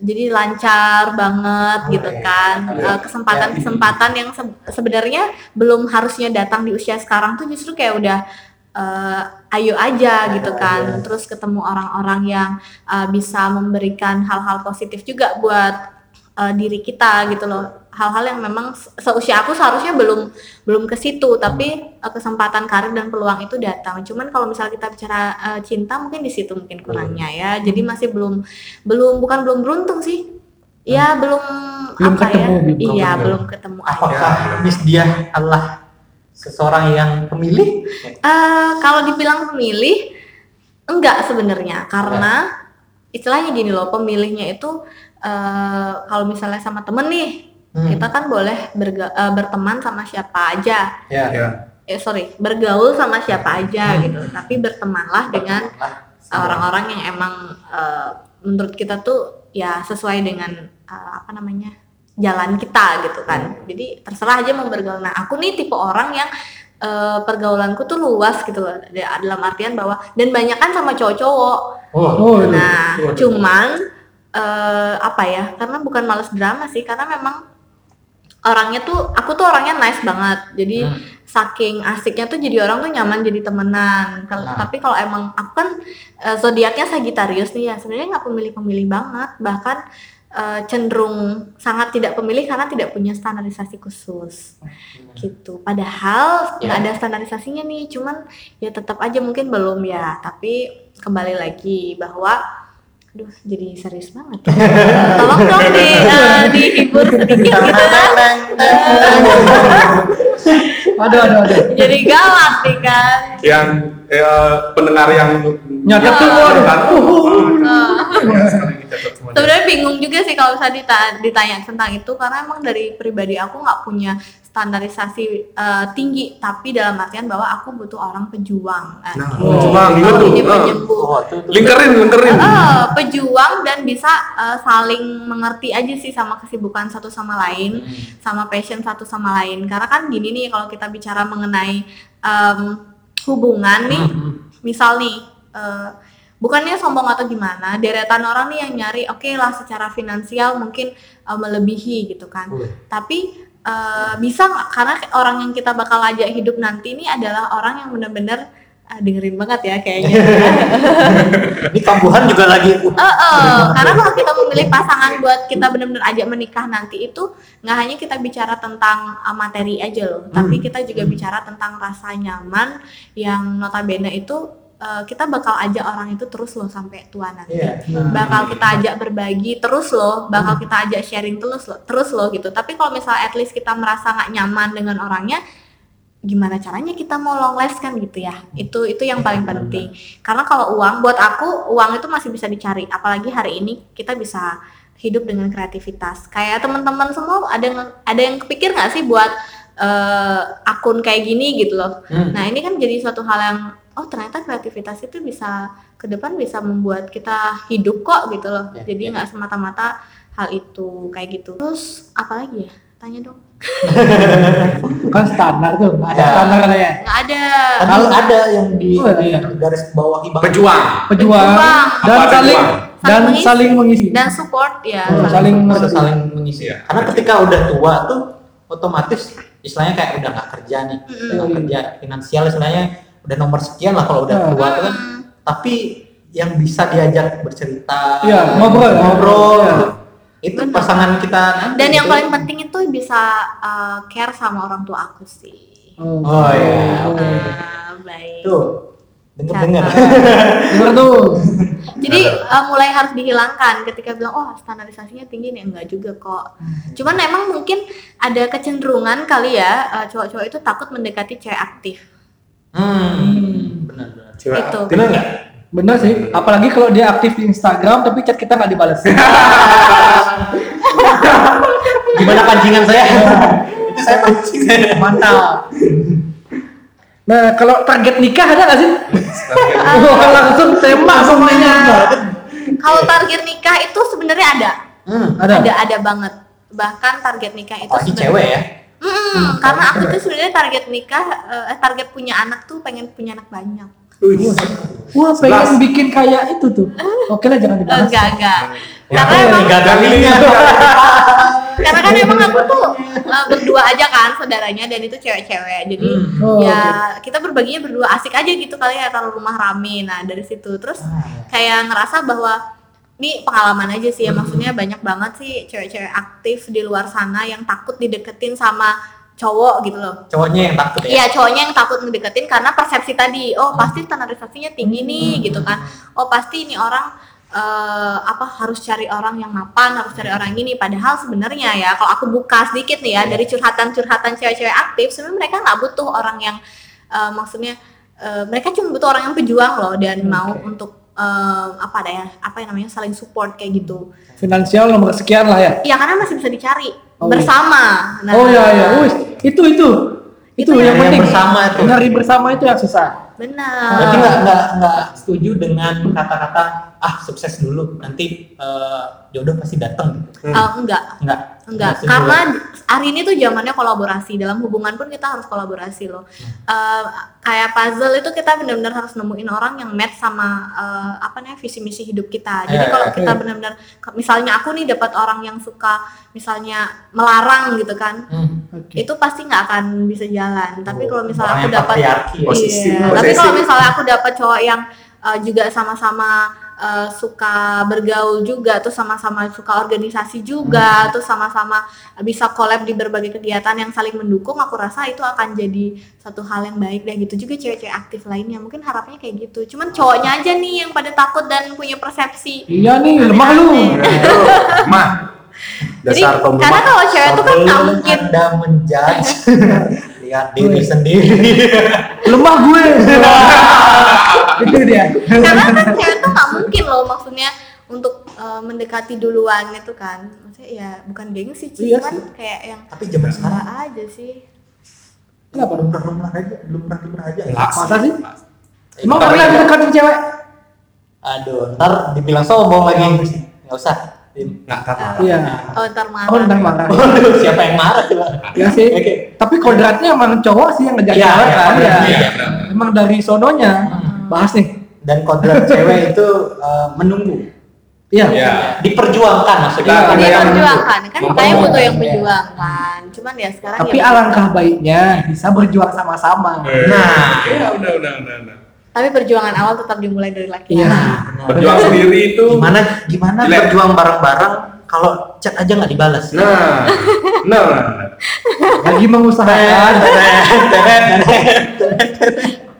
jadi lancar banget
Oh,
gitu
iya.
kan
Iya.
Eh, kesempatan-kesempatan yang se- sebenarnya belum harusnya datang di usia sekarang tuh justru kayak udah eh, ayo aja
Ayo
gitu
aja.
kan terus ketemu orang-orang yang eh, bisa memberikan hal-hal positif juga buat eh, diri kita gitu loh hal-hal yang memang se- seusia aku seharusnya belum belum ke situ tapi eh, kesempatan karir dan peluang itu datang cuman kalau misalnya kita bicara eh, cinta mungkin di situ mungkin kurangnya ya
Hmm.
jadi masih belum belum bukan belum beruntung sih ya belum
Hmm. Belum
apa
ketemu, gitu.
ya
belum
iya
ketemu.
belum ketemu aja.
apakah
Iya,
Miss Diah adalah seseorang yang pemilih
Eh, kalau dibilang pemilih enggak sebenarnya karena istilahnya gini loh pemilihnya itu eh, kalau misalnya sama temen nih
Hmm,
kita kan boleh berga- eh, berteman sama siapa aja
ya
eh sorry bergaul sama siapa aja
Hmm.
gitu tapi bertemanlah dengan orang-orang yang emang eh, menurut kita tuh ya sesuai dengan eh, apa namanya jalan kita gitu
Hmm.
kan jadi terserah aja mau bergaul nah aku nih tipe orang yang eh, pergaulanku tuh luas gitu loh Da- dalam artian bahwa dan banyak kan sama cowok-cowok
oh,
Oh, iya.
nah
Waduh.
cuman eh, apa ya karena bukan males drama sih karena memang orangnya tuh aku tuh orangnya nice banget jadi
Hmm.
saking asiknya tuh jadi orang tuh nyaman jadi temenan. Kalau-
Nah.
Tapi kalau emang aku kan eh, zodiaknya Sagittarius nih ya, sebenarnya nggak pemilih-pemilih banget, bahkan eh, cenderung sangat tidak pemilih karena tidak punya standarisasi khusus gitu. Padahal nggak
Ya.
ada standarisasinya nih, cuman ya tetap aja mungkin belum ya. Tapi kembali lagi bahwa aduh jadi serius
*laughs*
banget. Eh, Tolong dong di eh, dihibur sedikit gitu kan.
Aduh, aduh, aduh.
*laughs* Jadi galak nih kan.
Yang eh, pendengar yang
Nyatet tuh, waduh.
Nyatet.
Eh.
Ya, sekarang dicatat semuanya.
sebenarnya bingung juga sih kalau misalnya dita- ditanya tentang itu karena emang dari pribadi aku nggak punya standarisasi eh, tinggi tapi dalam artian bahwa aku butuh orang pejuang Eh,
Nah,
gitu.
pejuang, iya
Kalau
tuh,
ini
ah.
penyembuh.
Oh, itu- itu-
Lingkarin,
Iya.
lingkarin.
Eh, pejuang dan bisa eh, saling mengerti aja sih sama kesibukan satu sama lain
Hmm.
sama passion satu sama lain karena kan gini nih kalau kita bicara mengenai em, hubungan nih
Hmm.
misal nih eh, bukannya sombong atau gimana deretan orang nih yang nyari oke lah secara finansial mungkin eh, melebihi gitu kan
Wih.
tapi eh, bisa nggak karena orang yang kita bakal ajak hidup nanti ini adalah orang yang bener-bener ah, dengerin banget ya kayaknya
*laughs* Ini kambuhan juga lagi. uh,
Eh, eh, karena kalau kita memilih pasangan buat kita benar-benar ajak menikah nanti itu nggak hanya kita bicara tentang eh, materi aja loh, tapi kita juga bicara tentang rasa nyaman yang notabene itu eh, kita bakal ajak orang itu terus loh sampai tua nanti.
Iya.
Hmm.
Bakal kita ajak berbagi terus loh, bakal kita ajak sharing terus loh, terus loh gitu. Tapi kalau misalnya at least kita merasa nggak nyaman dengan orangnya, gimana caranya kita mau long last kan gitu ya itu itu yang paling penting karena kalau uang buat aku uang itu masih bisa dicari apalagi hari ini kita bisa hidup dengan kreativitas kayak teman-teman semua ada yang- ada yang kepikir nggak sih buat eh, akun kayak gini gitu loh
Hmm.
nah ini kan jadi suatu hal yang oh ternyata kreativitas itu bisa ke depan bisa membuat kita hidup kok gitu loh
Ya,
jadi
ya.
nggak semata-mata hal itu kayak gitu terus apalagi ya tanya dong
Kan standar tuh. Ada
Ya.
standar ada ya.
nggak ada
Tadi Nah, ada yang di,
Oh,
di
iya.
garis bawah ibang.
Pejuang.
Pejuang
Pejuang.
dan
Apa
saling
pejuang?
dan
Saling
saling mengisi.
dan support ya
Oh, saling
Bisa saling mengisi.
Iya.
Karena ketika udah tua tuh otomatis istilahnya kayak udah nggak kerja nih udah nggak
Mm.
kerja finansial istilahnya udah nomor sekian lah kalau udah
Nah.
tua tuh kan tapi yang bisa diajak bercerita
Iya, ngobrol.
ngobrol
Iya.
itu pasangan kita nanti
Dan yang
gitu.
paling penting itu bisa eh, care sama orang tua aku sih.
Oh,
gitu.
iya, oke.
Ah, baik.
tuh denger dengar *laughs*
Dengar tuh.
Jadi eh, mulai harus dihilangkan ketika bilang oh standarisasinya tinggi nih enggak juga kok.
Hmm.
Cuman emang mungkin ada kecenderungan kali ya eh, cowok-cowok itu takut mendekati cewek aktif.
hmm benar benar
Itu.
benar nggak
Bener sih. Apalagi kalau dia aktif di Instagram tapi chat kita nggak
*laughs*
dibalas.
gimana pancingan saya *laughs* itu saya pancing mantap
Nah, kalau target nikah ada nggak sih?
Instagram.
Wah, langsung tembak semuanya.
Kalau target nikah itu sebenarnya ada.
hmm
Ada.
Ada ada banget. Bahkan target nikah itu
apalagi
sebenarnya-
cewek ya
Mm, karena aku tuh sebenarnya target nikah eh, target punya anak tuh pengen punya anak banyak.
Wah, pengen bikin kayak itu tuh. Oke lah, jangan
Eh,
dibalas.
enggak enggak.
Ya,
Karena emang
tiga kalinya
karena kan emang aku tuh eh, berdua aja kan saudaranya dan itu cewek-cewek jadi
Hmm.
Oh,
ya kita berbaginya berdua asik aja gitu kali ya kalau rumah rame nah dari situ terus kayak ngerasa bahwa ini pengalaman aja sih ya maksudnya banyak banget sih cewek-cewek aktif di luar sana yang takut dideketin sama cowok gitu loh
cowoknya yang takut ya
Iya cowoknya yang takut mendeketin karena persepsi tadi, oh pasti standarisasinya tinggi nih
Hmm.
gitu kan, oh pasti ini orang eh, apa harus cari orang yang mapan, harus cari orang gini. Padahal sebenarnya ya kalau aku buka sedikit nih
Iya.
ya dari curhatan-curhatan cewek-cewek aktif, sebenarnya mereka nggak butuh orang yang eh, maksudnya eh, mereka cuma butuh orang yang pejuang loh
Iya,
dan mau untuk eh, apa ada ya apa yang namanya saling support kayak gitu.
Finansial nomor sekian lah ya.
Iya karena masih bisa dicari
Oh, iya.
bersama. Nah,
Oh iya iya, Wih, itu itu. Itu,
Itu ya.
yang,
Yang
yang-
penting.
bersama itu.
Nyari bersama itu yang susah.
Benar.
berarti nggak nggak nggak setuju dengan kata-kata ah sukses dulu nanti eh, jodoh pasti datang gitu
Eh, enggak.
nggak
Enggak,
setuju.
karena hari ini tuh zamannya kolaborasi. Dalam hubungan pun kita harus kolaborasi loh. Eh, kayak puzzle itu kita benar-benar harus nemuin orang yang match sama eh, apa namanya visi misi hidup kita. Jadi
Eh,
kalau
eh,
kita benar-benar misalnya aku nih dapat orang yang suka misalnya melarang gitu kan.
Hmm.
Itu pasti nggak akan bisa jalan. Tapi kalau misalnya
Oh, Orang
aku
yang
dapat
patriarki ya.
*laughs*
Posesif,
Iya, tapi
posesif.
kalau misalnya aku dapat cowok yang uh, juga sama-sama uh, suka bergaul juga, terus sama-sama suka organisasi juga, terus sama-sama bisa collab di berbagai kegiatan yang saling mendukung, aku rasa itu akan jadi satu hal yang baik deh gitu juga cewek-cewek aktif lainnya. Mungkin harapnya kayak gitu. Cuman cowoknya aja nih yang pada takut dan punya persepsi.
Iya nih, lemah lu.
Mah.
Jadi
Dasar kaum
karena
lemah.
kalau cewek itu kan nggak
Sebelum
mungkin
Anda
*laughs*
menjudge lihat diri sendiri
Lemah gue. *laughs* itu dia.
karena kan cewek tuh nggak mungkin loh maksudnya untuk eh, mendekati duluan itu kan maksudnya ya bukan gengsi sih
Iya
cuman
sih.
kayak yang
tapi zaman sekarang
apa aja sih
Kenapa
belum
dong?
pernah lumrah aja belum pernah lumrah aja ya.
Masa sih?
Eh,
Emang
ntar
pernah
aja.
deketin cewek?
aduh ntar dibilang sombong lagi nggak usah Din.
Nggak kata.
Iya.
oh ntar marah
Oh, ntar marah.
Waduh, *laughs* siapa yang marah coba
Ya sih.
Oke.
Tapi kodratnya emang cowok sih yang ngejar
Iya,
cewek kan
iya,
ya.
kodratnya,
iya, benar.
Emang dari sononya. Bahas nih.
dan kodrat cewek itu eh, menunggu
Iya.
Iya.
diperjuangkan maksudnya
Kita-
dia
Ada yang
perjuangkan Iya, kan makanya
memperjuangkan,
butuh yang
ya.
perjuangkan cuman ya sekarang
Tapi
ya
alangkah baiknya bisa berjuang sama-sama.
Nah.
Iya, udah, udah, udah, udah.
tapi perjuangan awal tetap dimulai dari laki
Iya.
Berjuang sendiri itu.
gimana gimana
Jelek.
berjuang bareng-bareng kalau chat aja nggak dibalas
Nah. Nah. nah, nah.
Lagi
Iya.
mengusahakan,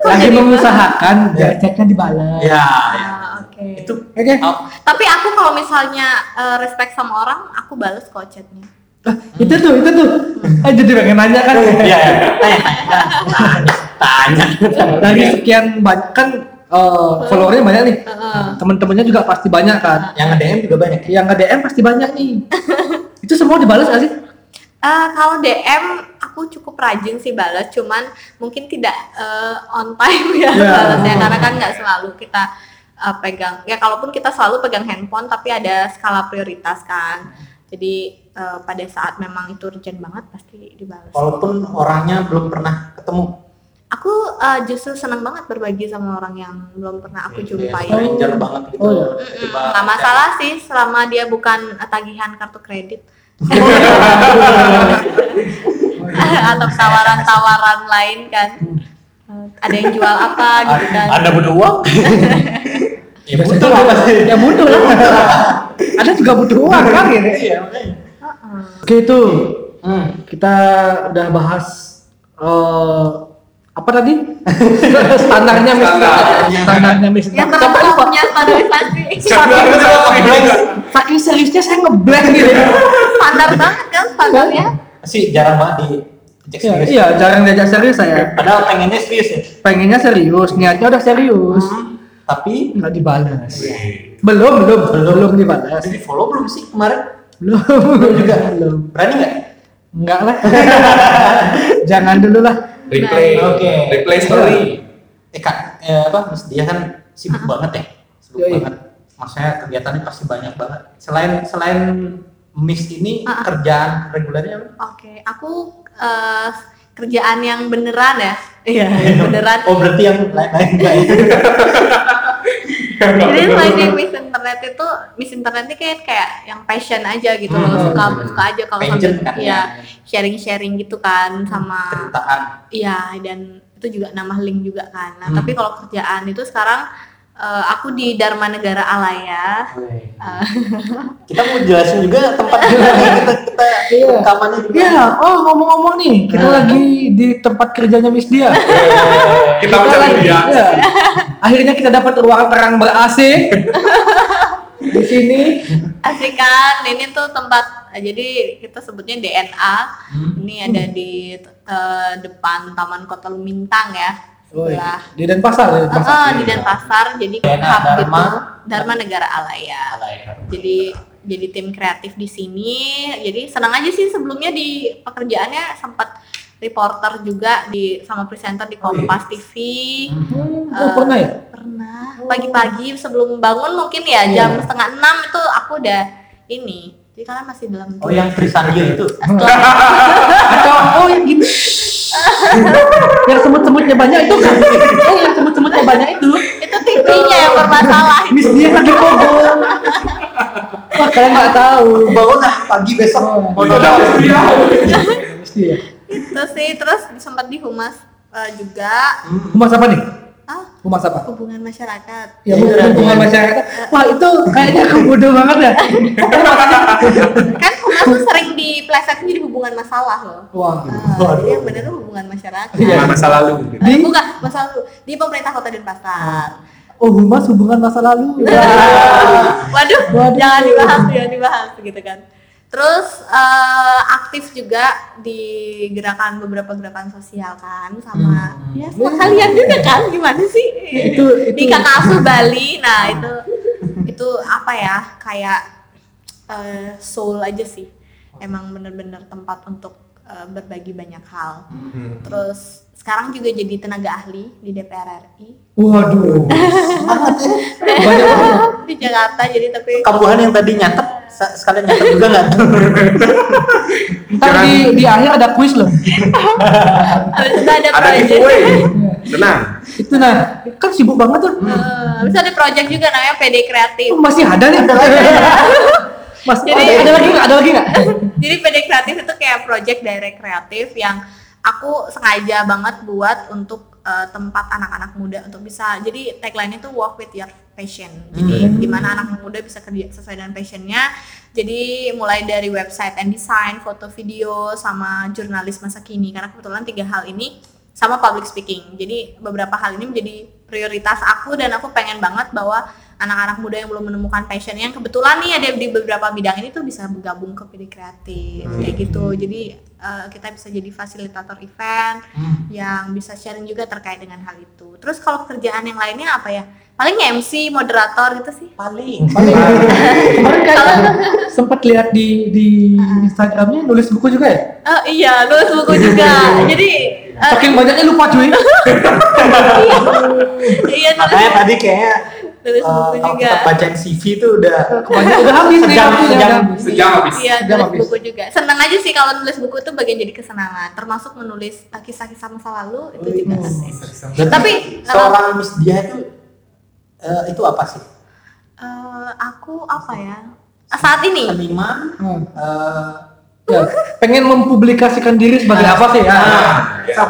lagi mengusahakan, biar chatnya dibalas.
ya
Ah, oke
itu
Oke.
oh,
tapi aku kalau misalnya eh, respect sama orang aku bales kok chatnya
Ah, itu tuh, itu tuh. Eh jadi pengen nanya kan.
ya ya. tanya tanya tanya
Nah, Dari sekian banyak kan eh, followernya banyak nih. Temen-temennya juga pasti banyak kan.
yang nge-DM juga banyak ya?
Yang nge DM pasti banyak *laughs* nih. itu semua dibalas gak sih?
Eh, kalau DM aku cukup rajin sih balas, cuman mungkin tidak eh, on time *laughs* ya
Ya.
balasnya karena kan nggak selalu kita eh, pegang. Ya kalaupun kita selalu pegang handphone, tapi ada skala prioritas kan. Jadi eh, pada saat memang itu urgent banget pasti dibalas.
walaupun orangnya belum pernah ketemu
Aku eh, justru senang banget berbagi sama orang yang belum pernah aku
Ya,
jumpai.
stranger banget gitu
Oh, iya.
Mm-mm,
Tiba-
nggak masalah sih selama dia bukan tagihan kartu kredit. *laughs* atau tawaran-tawaran lain kan ada yang jual apa gitu kan
Anda butuh uang? *laughs* ya butuh lah pasti.
ya butuh lah ada juga butuh uang kan gitu
Iya, makanya.
Heeh.
oke itu
Hmm.
kita udah bahas eh, apa tadi *laughs* standarnya Miss.
Standar.
standarnya Miss.
yang
Sampai
terlalu
lupa.
punya standar pasti
Standar
Saking-
itu apa?
saking- saking seriusnya saya ngeblank gitu
standar banget kan standarnya
Pasti jarang banget di cek
Iya,
serius.
iya jarang diajak serius saya
Padahal pengennya serius ya.
pengennya serius niatnya udah serius
Tapi
nggak dibalas belum belum belum, dibalas
di follow belum sih kemarin?
belum *laughs* juga belum
Berani nggak?
enggak lah *laughs* jangan dulu lah
Replay,
Oke.
replay story.
Eh kak, eh, apa? Mas dia kan sibuk banget ya, sibuk
Yoi.
banget. Maksudnya kegiatannya pasti banyak banget. Selain selain Miss ini
Ah, ah.
kerjaan regulernya apa?
oke aku eh, kerjaan yang beneran ya iya beneran
Oh berarti yang lain-lain
*laughs*
lain.
jadi selain Miss Internet itu Miss Internet ini kayak kayak yang passion aja gitu loh
Hmm.
suka suka aja kalau
Passion
sambil
kan
ya
ya.
sharing sharing gitu
Ah.
kan sama
Ceritaan.
Iya, dan itu juga nambah link juga kan. Nah,
Hmm.
tapi kalau kerjaan itu sekarang eh, aku di Dharma Negara Alaya. Ah.
*laughs* kita mau jelasin juga tempat kita
*laughs*
kita, kita
Iya.
rekamannya juga.
ya oh ngomong-ngomong nih kita
Nah.
lagi di tempat kerjanya Miss Dia
Kita ucapin
lagi-
dia.
iya. akhirnya kita dapat ruang terang ber AC di sini
Hmm.
Asik kan? Ini tuh tempat eh, jadi kita sebutnya DNA.
Hmm.
Ini ada di eh, depan Taman Kota Lumintang ya.
Woi,
Sebelah
di Denpasar ya
eh,
Denpasar.
eh, di Denpasar jadi
DNA
hub gitu
Dharma-
Dharma Negara Alaya.
Alay.
jadi jadi tim kreatif di sini jadi senang aja sih sebelumnya di pekerjaannya sempat reporter juga di sama presenter di Kompas TV
Hmm, oh, pernah ya
pernah pagi-pagi sebelum bangun mungkin
Iya.
ya jam setengah enam itu aku udah ini jadi kalian masih dalam
Oh yang Trisandia itu.
atau oh yang gini yang semut-semutnya banyak itu kan oh yang semut-semutnya banyak itu
itu TV-nya yang bermasalah
Miss Dia lagi kobol wah kalian nggak tahu
Bangun lah pagi besok.
Oh.
Mau nonton.
Miss Dia
itu sih terus sempat di humas eh, juga
humas apa nih
ah
humas apa
hubungan masyarakat
ya hubungan masyarakat wah itu kayaknya aku bodoh banget ya
kan humas tuh sering diplesetnya jadi hubungan masalah loh
wah
Ah, jadi yang bener tuh hubungan masyarakat
Iya, masa lalu.
Eh,
di
bukan masalah lu di pemerintah kota Denpasar
oh humas hubungan masa lalu
waduh, jangan dibahas jangan dibahas gitu kan terus eh, aktif juga di gerakan beberapa gerakan sosial kan sama ya sama kalian juga kan gimana sih
Itu-
di
itu-
kakak asuh Bali nah itu itu apa ya kayak eh, soul aja sih emang bener-bener tempat untuk eh, berbagi banyak hal terus sekarang juga jadi tenaga ahli di DPR RI
waduh banyak banget
di Jakarta jadi tapi
Kambuhan yang tadi nyatet sa- sekalian nyatet juga
*laughs*
nggak tuh?
ntar di di akhir ada kuis loh
habis itu ada
Ada
project
giveaway. Tenang.
itu nah kan sibuk banget tuh
Eh, habis itu ada project juga namanya PD kreatif
Oh, masih ada nih ada lagi mas
Jadi-
ada, ada lagi nggak ada lagi nggak
jadi PD kreatif itu kayak project direct kreatif yang aku sengaja banget buat untuk eh, tempat anak-anak muda untuk bisa jadi tagline-nya tuh walk with your passion jadi gimana anak muda bisa kerja sesuai dengan passionnya jadi mulai dari website and design foto video sama jurnalis masa kini karena kebetulan tiga hal ini sama public speaking jadi beberapa hal ini menjadi prioritas aku dan aku pengen banget bahwa anak-anak muda yang belum menemukan passion yang kebetulan nih ada di beberapa bidang ini tuh bisa bergabung ke PD kreatif kayak gitu jadi eh, kita bisa jadi fasilitator event yang bisa sharing juga terkait dengan hal itu terus kalau kerjaan yang lainnya apa ya paling MC moderator gitu sih
Paling.
kemarin kayaknya sempat lihat di di Instagramnya nulis buku juga ya
Eh, iya nulis buku
*laughs*
juga jadi eh,
saking banyaknya lupa cuy
iya nulis,
Makanya tadi kayaknya
nulis
eh,
buku
kalau
juga
kita bacain CV tuh udah
Kebanyakan udah habis nih
Sejam,
waktunya,
sejam.
udah habis.
Sejam habis.
Iya,
Udah
nulis
habis.
buku juga. Senang aja sih kalau nulis buku itu bagian jadi kesenangan, termasuk menulis eh, kisah-kisah masa lalu
Oh,
itu juga
iya.
asik. Hmm. Tapi eh,
seorang Miss dia itu eh, itu apa sih?
eh, aku apa ya? Saat ini
Seniman,
Hmm.
eh,
Ya, pengen mempublikasikan diri sebagai apa sih?
Ah,
Ya.
iya.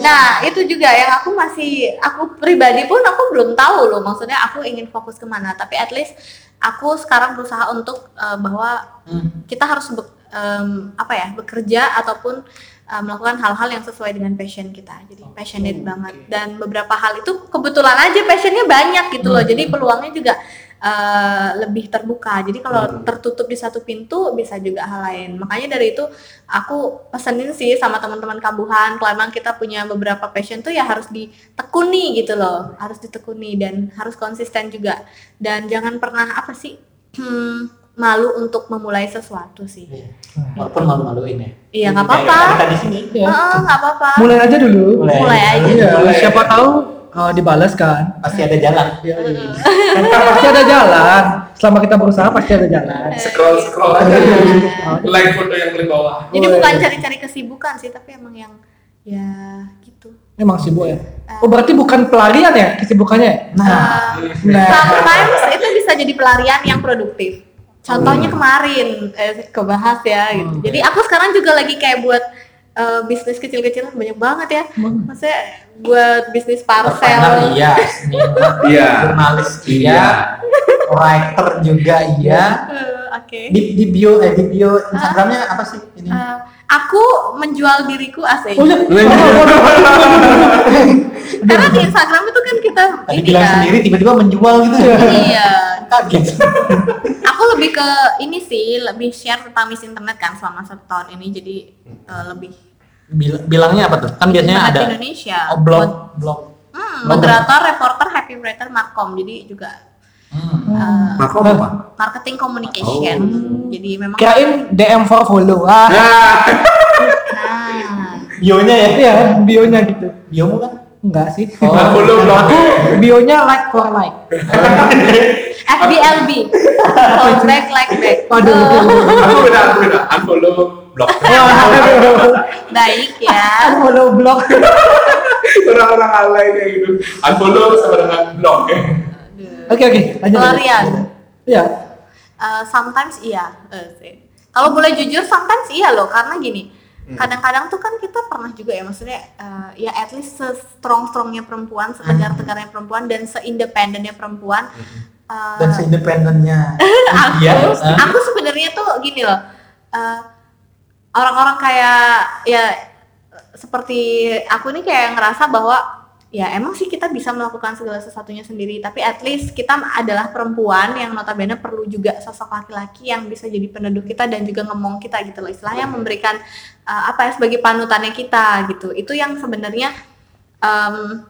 Nah, itu juga yang aku masih aku pribadi pun aku belum tahu loh maksudnya aku ingin fokus kemana. Tapi at least aku sekarang berusaha untuk eh, bahwa kita harus be- em, apa ya bekerja ataupun eh, melakukan hal-hal yang sesuai dengan passion kita. Jadi passionate banget dan beberapa hal itu kebetulan aja passionnya banyak gitu loh. Jadi peluangnya juga eh, lebih terbuka. Jadi kalau tertutup di satu pintu bisa juga hal lain. Makanya dari itu aku pesenin sih sama teman-teman kambuhan kalau emang kita punya beberapa passion tuh ya harus ditekuni gitu loh. Harus ditekuni dan harus konsisten juga. Dan jangan pernah apa sih? *clears throat* Hmm, malu untuk memulai sesuatu sih.
Walaupun malu-maluin ya.
Iya, nggak
Kayak
apa-apa.
Kita di sini.
Heeh, nggak apa-apa.
Mulai aja dulu.
Mulai.
Mulai aja.
Iya, siapa tahu uh, dibalas kan.
Pasti ada jalan.
Iya.
pasti ada jalan. Selama kita berusaha pasti ada jalan.
Eh,
Scroll scroll aja. Like foto yang paling bawah.
iya. *laughs* Jadi bukan cari-cari kesibukan sih, tapi emang yang ya gitu.
Memang sibuk ya. Oh berarti bukan pelarian ya kesibukannya?
Nah,
Eh, Sometimes itu bisa jadi pelarian yang produktif. Contohnya
Hmm.
kemarin eh, kebahas ya gitu. Jadi aku sekarang juga lagi kayak buat eh, bisnis kecil-kecilan banyak banget ya.
Hmm.
Maksudnya buat bisnis
partner
parcel.
iya, seniman,
Iya.
jurnalis iya, writer juga iya.
Eh, Oke.
Di, di bio eh di bio Instagramnya apa sih ini?
Eh, aku menjual diriku asli.
Oh, iya.
Oh,
Karena di Instagram itu kan kita
Tadi
ini
bilang
kan.
sendiri tiba-tiba menjual gitu
*laughs*
ya.
Iya.
Kaget.
Aku lebih ke ini sih, lebih share tentang miss internet kan selama satu tahun ini jadi eh, lebih
Bil- bilangnya apa tuh? Kan biasanya
internet
ada
Indonesia.
oh, blog, blog.
Hmm,
Blog.
moderator, reporter, happy writer, markom. Jadi juga
Hmm.
eh,
Markom apa?
marketing communication.
Oh.
Jadi memang
Kirain DM for follow. Ah,
Ya.
Nah,
nah,
Bionya ya?
iya bionya gitu.
Biomu kan?
Enggak sih.
Oh.
aku belum belum.
Bionya like for like.
FBLB.
*laughs*
Follow back like back.
Waduh.
Aku beda, aku beda. Unfollow, blok.
Baik ya.
follow blog.
Orang-orang alay kayak gitu. Unfollow sama dengan ya. blok.
Oke oke, lanjut.
Pelarian.
Iya.
Eh, sometimes iya. Eh, sih. Kalau boleh jujur, sometimes iya loh. Karena gini, kadang-kadang tuh kan kita pernah juga ya, maksudnya eh, ya at least se-strong-strongnya perempuan, setegar-tegarnya perempuan, dan se-independennya perempuan. eh,
Dan
*laughs*
seindependennya.
aku,
Iya.
aku sebenarnya tuh gini loh. eh, Orang-orang kayak ya seperti aku nih kayak ngerasa bahwa ya emang sih kita bisa melakukan segala sesuatunya sendiri tapi at least kita adalah perempuan yang notabene perlu juga sosok laki-laki yang bisa jadi peneduh kita dan juga ngomong kita gitu loh istilahnya memberikan eh, apa ya sebagai panutannya kita gitu itu yang sebenarnya em,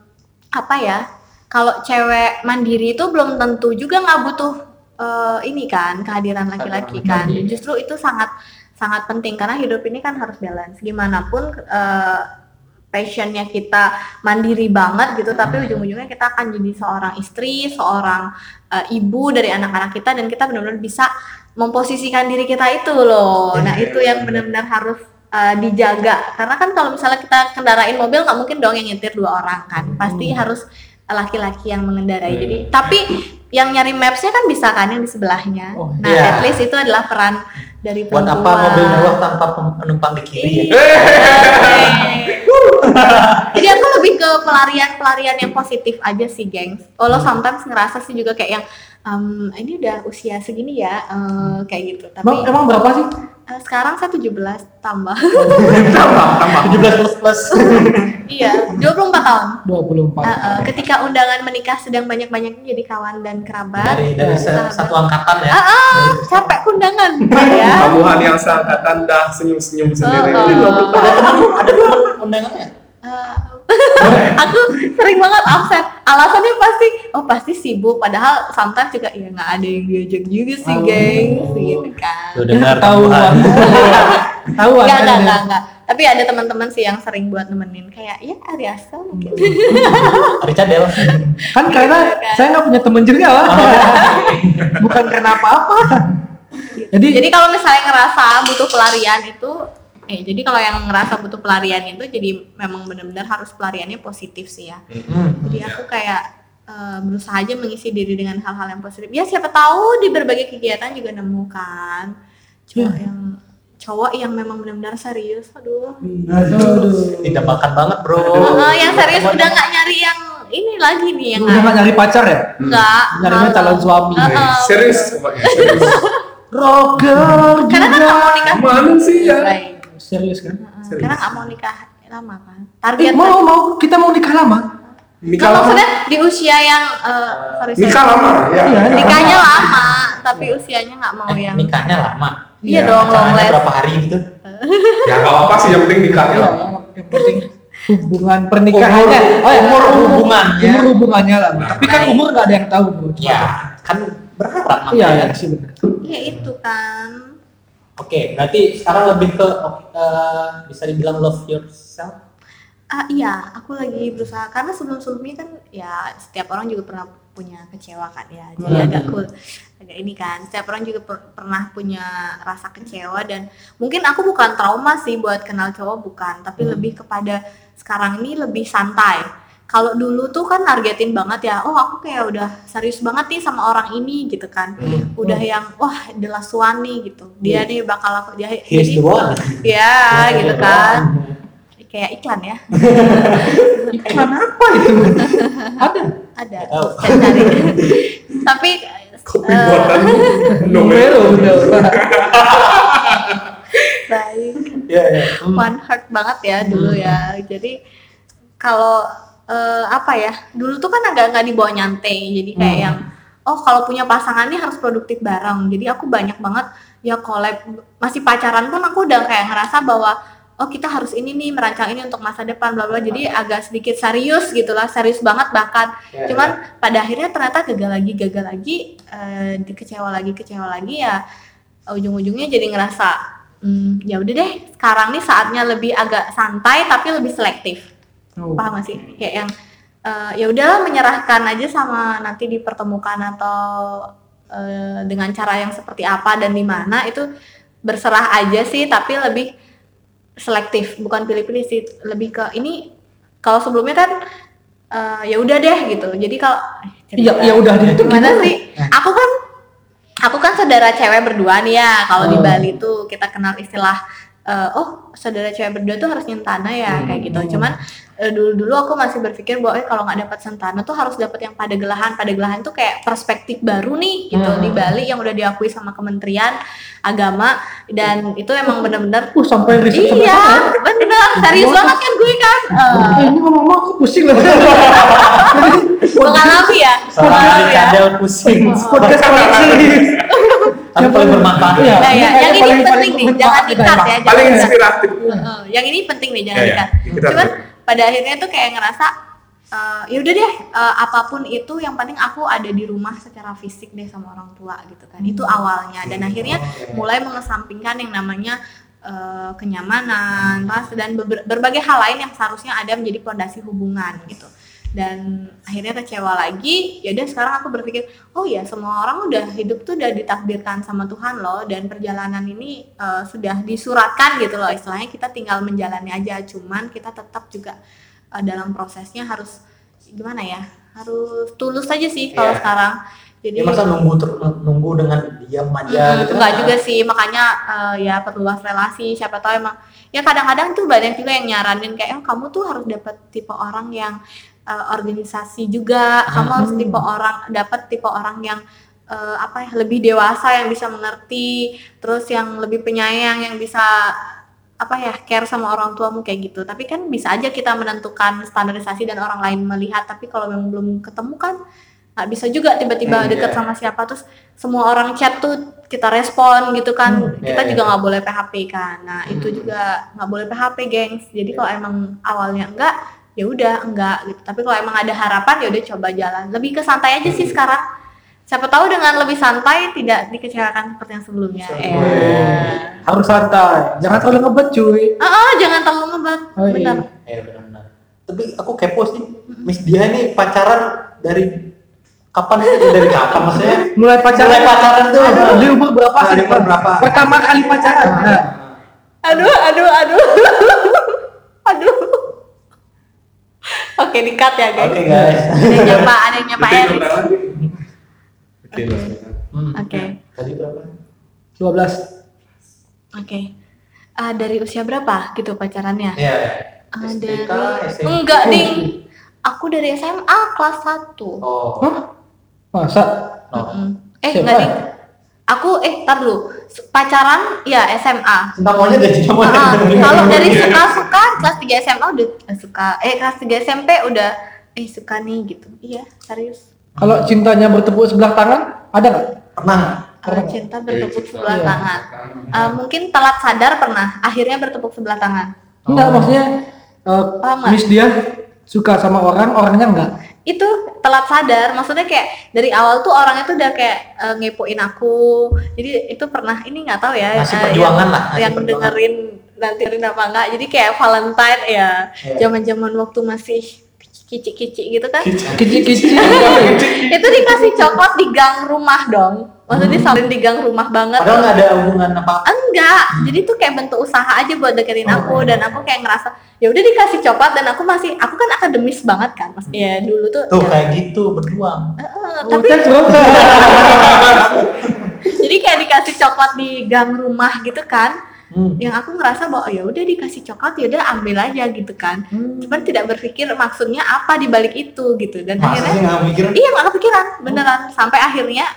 apa ya kalau cewek mandiri itu belum tentu juga nggak butuh eh, ini kan kehadiran laki-laki kan
laki-laki.
justru itu sangat sangat penting karena hidup ini kan harus balance gimana pun eh, passionnya kita mandiri banget gitu tapi ujung-ujungnya kita akan jadi seorang istri seorang eh, ibu dari anak-anak kita dan kita benar-benar bisa memposisikan diri kita itu loh nah itu yang benar-benar harus eh, dijaga karena kan kalau misalnya kita kendarain mobil nggak mungkin dong yang nyetir dua orang kan pasti harus laki-laki yang mengendarai jadi tapi yang nyari mapsnya kan bisa kan yang di sebelahnya
Oh,
nah
iya.
at least itu adalah peran dari
Buat apa
perempuan.
mobil mewah tanpa penumpang di kiri ya? *laughs*
Iya. *laughs* Jadi aku lebih ke pelarian-pelarian yang positif aja sih, gengs. Walau
Hmm.
sometimes ngerasa sih juga kayak yang em, ini udah usia segini ya,
Hmm.
eh, kayak gitu. Tapi
Emang emang berapa sih?
eh, sekarang saya 17 tambah. *laughs*
Tambah, tambah.
17 plus plus.
iya, 24 tahun.
24.
Eh, eh, ketika undangan menikah sedang banyak-banyaknya jadi kawan dan kerabat.
dari dari se- satu angkatan ya.
Iya. Ah, ah, capek
*laughs*
undangan, ya.
Kamuhan yang seangkatan dah senyum-senyum sendiri.
Oh, oh.
Ada temen, ada temen undangannya.
Eh, *laughs* aku sering banget absen alasannya pasti oh pasti sibuk padahal sometimes juga ya nggak ada yang diajak juga sih gengs gitu kan
Tuh dengar
Ketahuan. Ketahuan.
nggak
kan
nggak
ya.
nggak nggak tapi ada teman-teman sih yang sering buat nemenin kayak ya Ari Asta mungkin
Richard Del.
Kan karena saya nggak punya temen juga lah. Bukan karena apa-apa. Jadi,
jadi kalau misalnya ngerasa butuh pelarian itu eh jadi kalau yang ngerasa butuh pelarian itu jadi memang benar-benar harus pelariannya positif sih ya jadi aku kayak eh, berusaha aja mengisi diri dengan hal-hal kan. yang positif ya siapa tahu di berbagai kegiatan juga nemukan cuma yang cowok yang memang benar-benar serius aduh
Aduh.
Tidak bakat banget bro.
Oh.
Heeh, Oh, yang serius udah nggak nyari yang ini lagi nih
Lu
yang
udah gak nyari pacar ya?
nggak
Nyarinya
malah. Eh,
calon suami.
Heeh,
Serius, pokoknya, serius.
Roger.
karena kan nggak mau nikah
Mana sih
Iya.
ya?
Baik.
Serius kan?
Heeh, karena nggak mau nikah lama kan
Eh,
target
mau mau kita mau nikah lama.
Nikah lama.
Kalau maksudnya di usia yang eh, sorry, sorry.
Nikah lama, ya.
Iya,
nikah lama.
nikahnya lama tapi usianya nggak mau
Eh,
Oh, yang
nikahnya lama.
Iya
Iya,
dong long
Pacarannya
last
berapa hari gitu?
Ya nggak apa-apa sih, yang penting nikahnya.
Iya,
lah.
yang penting hubungan pernikahannya, Oh, iya.
Umur- umur hubungannya.
umur hubungannya lah. Tapi kan umur nggak ada yang tahu bro. Cuma-
Iya, kan berharap
iya,
makanya.
iya sih benar.
ya itu kan
Oke, berarti sekarang lebih ke eh, bisa dibilang love yourself.
Ah iya, aku lagi berusaha karena sebelum-sebelumnya kan ya setiap orang juga pernah punya kecewa kan ya. Jadi
Hmm.
agak cool. Agak ini kan. Setiap orang juga per- pernah punya rasa kecewa dan mungkin aku bukan trauma sih buat kenal cowok bukan, tapi
Hmm.
lebih kepada sekarang ini lebih santai. Kalau dulu tuh kan nargetin banget ya, oh aku kayak udah serius banget nih sama orang ini gitu kan.
Hmm.
Udah yang wah the last one nih gitu. Dia nih bakal aku dia
Here's the
jadi-
one.
*laughs* Ya, gitu kan. Kayak iklan ya.
Iklan apa itu? ada.
ada
Nggak tahu.
saya
*laughs*
cari tapi
Kopi
eh,
buatan
Numero bener.
baik
Iya, iya.
Hmm. one heart banget ya dulu ya jadi kalau eh, apa ya dulu tuh kan agak nggak dibawa nyantai jadi kayak yang oh kalau punya pasangan nih harus produktif bareng jadi aku banyak banget ya collab masih pacaran pun aku udah kayak ngerasa bahwa oh kita harus ini nih merancang ini untuk masa depan bla bla jadi agak sedikit serius gitulah serius banget bahkan
Ya,
cuman pada akhirnya ternyata gagal lagi gagal lagi eh, dikecewa lagi kecewa lagi ya ujung-ujungnya jadi ngerasa hmm, ya udah deh sekarang nih saatnya lebih agak santai tapi lebih selektif
Oh.
paham gak sih kayak yang eh, ya udahlah menyerahkan aja sama nanti dipertemukan atau eh, dengan cara yang seperti apa dan di mana itu berserah aja sih tapi lebih selektif bukan pilih-pilih sih lebih ke ini kalau sebelumnya kan eh, ya udah deh gitu jadi kalau
Iya, ya udah deh. Eh. Itu
gimana sih aku kan aku kan saudara cewek berdua nih ya kalau di
Hmm.
Bali tuh kita kenal istilah eh, oh saudara cewek berdua tuh harus nyentana ya
Hmm.
kayak gitu cuman dulu dulu aku masih berpikir bahwa eh, kalau nggak dapat sentana tuh harus dapat yang pada gelahan pada gelahan tuh kayak perspektif baru nih gitu
Hmm.
di Bali yang udah diakui sama Kementerian Agama dan itu emang bener-bener
Uh, sampai riset sampai
iya
sana.
bener serius
Gua-
banget kan gue kan Eh,
Eh, ini ngomong-ngomong aku pusing loh.
mengalami ya
Soalnya di
mengalami ya
kadal pusing.
Podcast
Iya.
koleksi.
Tapi paling bermanfaat.
Iya.
Nah, ya, yang
Paling-
ini penting
paling
nih, jangan
bermanfaat
dikat
kita
ya.
paling
jangan di-cut.
inspiratif.
Heeh, yang ini penting nih, jangan
Ya, ya.
dikat.
Kita-
Cuman pada akhirnya tuh kayak ngerasa eh, yaudah deh eh, apapun itu yang penting aku ada di rumah secara fisik deh sama orang tua gitu kan. Itu awalnya dan akhirnya mulai mengesampingkan yang namanya eh, kenyamanan, ras dan beber- berbagai hal lain yang seharusnya ada menjadi pondasi hubungan gitu. Dan akhirnya kecewa lagi, yaudah sekarang aku berpikir, oh ya semua orang udah hidup tuh udah ditakdirkan sama Tuhan loh dan perjalanan ini eh, sudah disuratkan gitu loh istilahnya kita tinggal menjalani aja cuman kita tetap juga eh, dalam prosesnya harus gimana ya harus tulus aja sih kalau
Iya.
sekarang jadi
Ya masa nunggu ter- nunggu dengan diam aja
Mm,
gitu.
enggak juga sih makanya eh, ya perluas relasi siapa tahu emang ya kadang-kadang tuh banyak juga yang nyaranin kayak "Eh, kamu tuh harus dapet tipe orang yang eh, organisasi juga kamu
Hmm.
harus tipe orang dapat tipe orang yang eh, apa ya lebih dewasa yang bisa mengerti terus yang lebih penyayang yang bisa apa ya care sama orang tuamu kayak gitu tapi kan bisa aja kita menentukan standarisasi dan orang lain melihat tapi kalau memang belum ketemu kan nggak bisa juga tiba-tiba
Iya.
deket sama siapa terus semua orang chat tuh kita respon gitu kan
Hmm,
kita
iya,
juga
iya.
nggak boleh PHP kan nah itu
Hmm.
juga nggak boleh PHP gengs jadi kalau emang awalnya enggak ya udah enggak gitu tapi kalau emang ada harapan ya udah coba jalan lebih ke santai aja sih sekarang siapa tahu dengan lebih santai tidak dikecewakan seperti yang sebelumnya eh
Iya.
Harus santai. Jangan terlalu ngebet cuy.
ah ah, jangan terlalu ngebat
Oh, iya.
benar
Ya benar-benar. Tapi aku kepo sih. Miss dia ini pacaran dari kapan sih? Dari kapan maksudnya?
Mulai pacaran.
Mulai pacaran tuh.
Aduh, Di umur berapa
Nah,
sih?
di umur berapa? Iya.
Pertama kali pacaran. Nah,
aduh aduh aduh *laughs* aduh oke dikat ya
*laughs*
guys
Oke guys.
ada yang nyapa ada yang nyapa
Detik
Eric.
undangan. Detik undangan.
Hmm.
oke
Tadi berapa?
12.
Oke. eh, dari usia berapa gitu pacarannya?
Iya.
Eh,
STK, SMP.
Enggak, Ding. Aku dari SMA kelas 1.
Oh.
Hah? Masa?
Oh.
Eh,
Siapa?
enggak, Ding. Aku eh tar dulu. S- Pacaran ya SMA.
Entah maunya jadi cuma. *laughs*
Ah, kalau dari suka-suka kelas 3 SMA udah eh, suka. Eh kelas 3 SMP udah eh suka nih gitu. Iya, serius.
Kalau cintanya bertepuk sebelah tangan, ada nggak?
Pernah.
Kalau
Pernah.
cinta
Dari
bertepuk
cinta.
sebelah
Iya.
tangan. Eh, mungkin telat sadar pernah, akhirnya bertepuk sebelah tangan.
Enggak, maksudnya eh,
Paham nggak?
Miss dia suka sama orang, orangnya enggak.
itu telat sadar maksudnya kayak dari awal tuh orang itu udah kayak eh, ngepoin aku jadi itu pernah ini nggak tahu ya
Masih
eh,
perjuangan
yang,
lah, masih
yang
perjuangan.
dengerin nanti dengerin apa enggak jadi kayak Valentine ya
Iya.
zaman zaman waktu masih kicik-kicik gitu kan *laughs*
Kicik-kicik.
itu dikasih coklat di gang rumah dong maksudnya disamperin di gang rumah banget
Hmm. Padahal nggak ada hubungan apa.
enggak jadi tuh kayak bentuk usaha aja buat deketin
Oh,
aku
iya,
dan aku kayak ngerasa ya udah dikasih coklat dan aku masih aku kan akademis banget kan mas ya dulu tuh,
Hmm. Tuh kan
ya,
kayak gitu berdua.
eh,
Oh,
tapi
thanks, bro.
jadi kayak dikasih coklat di gang rumah gitu kan
Hmm.
yang aku ngerasa bahwa oh, ya udah dikasih coklat ya udah ambil aja gitu kan
Hmm.
cuman tidak berpikir maksudnya apa di balik itu gitu dan
Masa
akhirnya
sih nggak Hmm. mikir?
iya nggak kepikiran beneran sampai akhirnya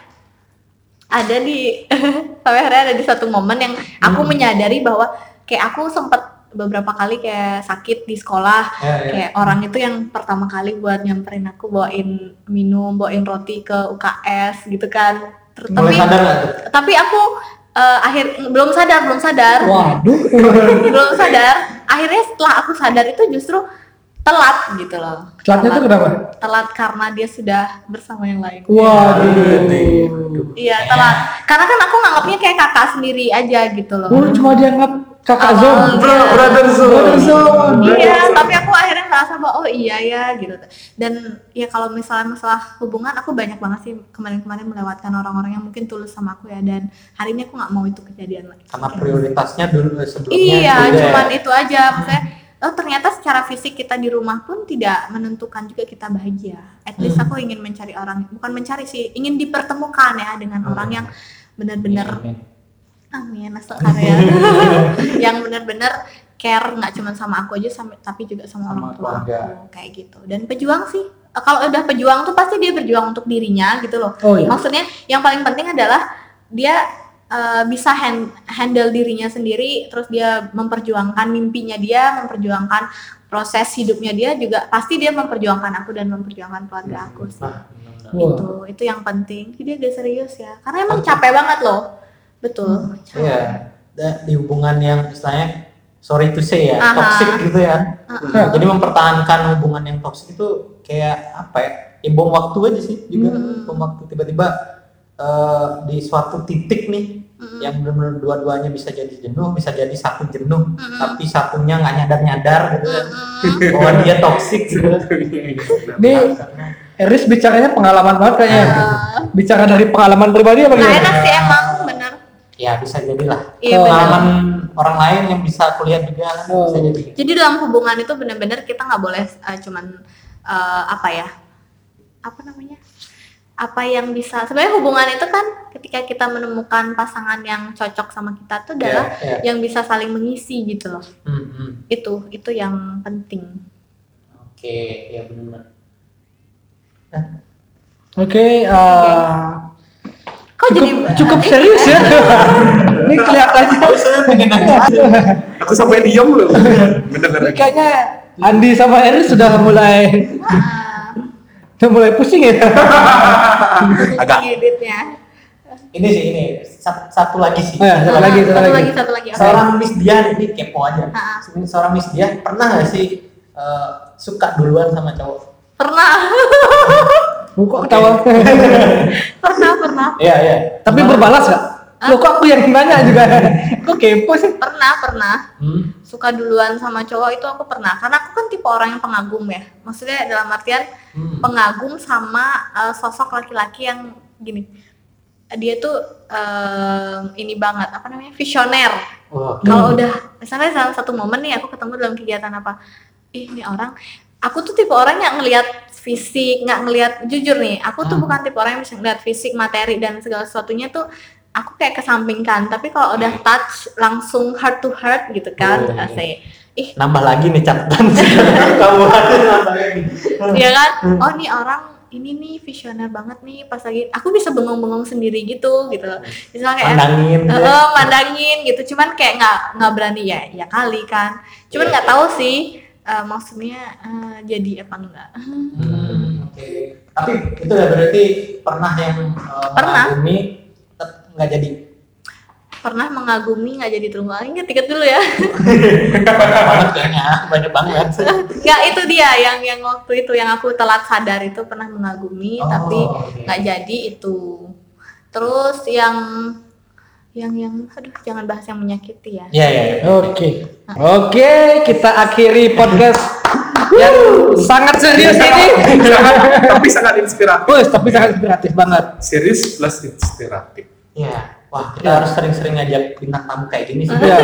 ada di *laughs* sampai akhirnya ada di satu momen yang aku
Hmm.
menyadari bahwa kayak aku sempet beberapa kali kayak sakit di sekolah
Ya, ya.
kayak orang itu yang pertama kali buat nyamperin aku bawain minum bawain roti ke UKS gitu kan Ter-
Mulai
tapi
sadar nggak tuh?
tapi aku eh, akhir belum sadar belum sadar
Waduh.
belum sadar akhirnya setelah aku sadar itu justru telat gitu loh
Telatnya tuh kenapa?
telat karena dia sudah bersama yang lain
Waduh.
iya telat karena kan aku nganggapnya kayak kakak sendiri aja gitu loh
Oh, cuma dianggap kakak
Awal.
Zom.
Bro, brother
Brother zone.
iya tapi aku akhirnya ngerasa bahwa oh iya ya gitu dan ya kalau misalnya masalah hubungan aku banyak banget sih kemarin-kemarin melewatkan orang-orang yang mungkin tulus sama aku ya dan hari ini aku nggak mau itu kejadian lagi
Karena prioritasnya dulu eh, sebelumnya.
Iya,
beda ya.
cuman itu aja. Maksudnya, oh ternyata secara fisik kita di rumah pun tidak menentukan juga kita bahagia. At least
Hmm.
aku ingin mencari orang, bukan mencari sih, ingin dipertemukan ya dengan
Hmm.
orang yang
Iya,
benar-benar,
iya.
amin, asal
*laughs*
karya, yang benar-benar care nggak cuma sama aku aja, sama- tapi juga
Sama
sama, orang tua
keluarga.
aku kayak gitu. Dan pejuang sih, Eh, kalau udah pejuang tuh pasti dia berjuang untuk dirinya gitu loh.
Oh iya.
Maksudnya yang paling penting adalah dia eh, bisa hand- handle dirinya sendiri, terus dia memperjuangkan mimpinya dia, memperjuangkan proses hidupnya dia juga pasti dia memperjuangkan aku dan memperjuangkan keluarga aku sih.
Nah, benar-benar.
Wah.
Itu itu yang penting. Jadi dia serius ya, karena emang capek banget loh. Betul.
Iya. Da- Di hubungan yang istilahnya sorry to say ya,
Aha.
toxic gitu ya.
Heeh.
Jadi mempertahankan hubungan yang toksik itu kayak apa ya? Ya bom waktu aja sih juga
Hmm.
bom waktu tiba-tiba eh, di suatu titik nih
Mm-mm.
yang benar-benar dua-duanya bisa jadi jenuh, bisa jadi satu jenuh,
Mm-mm.
tapi satunya nggak nyadar-nyadar gitu kan.
Mm-mm.
Bahwa dia toksik gitu. Nah,
Nih, Eris bicaranya pengalaman banget kayaknya.
Eh,
Bicara dari pengalaman pribadi apa
nggak
gimana?
enak sih emang bener.
Ya bisa jadilah.
Iya, benar.
Pengalaman orang lain yang bisa kulihat juga kan,
Oh.
bisa jadi.
Jadi dalam hubungan itu benar-benar kita nggak boleh eh, cuman eh, apa ya? Apa namanya? Apa yang bisa sebenarnya hubungan itu kan ketika kita menemukan pasangan yang cocok sama kita tuh adalah
Ya,
Iya,
yang bisa saling mengisi gitu loh.
Hmm, hmm.
Itu itu yang penting.
Oke, ya benar.
Oke, eh,
Kok
cukup
jadi *laughs*
cukup serius ya. Ini kelihatannya
Aku sampai diem loh. Bener-bener.
Ini kayaknya Andi sama Eris sudah mulai
Ah,
sudah mulai pusing ya.
Agak.
ngeditnya.
Ini sih ini sat- satu lagi sih.
Eh, satu
Ah,
lagi,
satu lagi,
lagi.
satu lagi. Oke.
Seorang Miss Dian ini kepo aja.
Iya. Ah.
Sebenarnya Seorang Miss Dian pernah nggak sih eh, suka duluan sama cowok?
Pernah, *laughs*
Lu kok ketawa?
pernah, pernah,
Iya iya.
Tapi berbalas gak? Lo kok aku yang nanya juga? Kok kepo sih?
pernah, pernah.
Hmm.
suka duluan sama cowok itu aku pernah karena aku kan tipe orang yang pengagum ya maksudnya dalam artian
Hmm.
pengagum sama uh, sosok laki-laki yang gini dia tuh um, ini banget apa namanya visioner
Wah,
kalau udah misalnya dalam satu momen nih aku ketemu dalam kegiatan apa ih ini orang aku tuh tipe orang yang ngelihat fisik nggak ngelihat jujur nih aku tuh
Hmm.
bukan tipe orang yang bisa ngelihat fisik materi dan segala sesuatunya tuh aku kayak kesampingkan tapi kalau udah touch langsung heart to heart gitu kan
Hmm. Oh.
asik ih
Nambah lagi nih catatan *laughs* kamu ada nambah *laughs* lagi. Hmm.
ya kan oh nih orang ini nih visioner banget nih pas lagi aku bisa bengong-bengong sendiri gitu gitu loh misalnya kayak
Pandangin.
Eh, eh, mandangin gitu cuman kayak nggak nggak berani ya ya kali kan cuman nggak
Iya.
tahu sih eh, maksudnya eh, jadi apa enggak
Hmm, oke. Tapi itu ya berarti pernah yang eh,
Pernah.
mengagumi, tetap nggak jadi.
*laughs* pernah mengagumi nggak jadi terlalu ini tiket dulu ya *laughs*
Banyak banget kayaknya, banyak banget.
nggak itu dia yang yang waktu itu yang aku telat sadar itu pernah mengagumi
Oh,
tapi
oke.
nggak jadi itu terus yang yang yang aduh jangan bahas yang menyakiti ya
Iya, iya. iya.
Oke. Oke, kita akhiri podcast yang sangat serius ini.
*laughs* tapi sangat inspiratif
Wes, tapi sangat inspiratif banget.
serius plus inspiratif
Iya. Wah, kita
Iya.
harus sering-sering ngajak bintang tamu kayak gini sih.
Iya.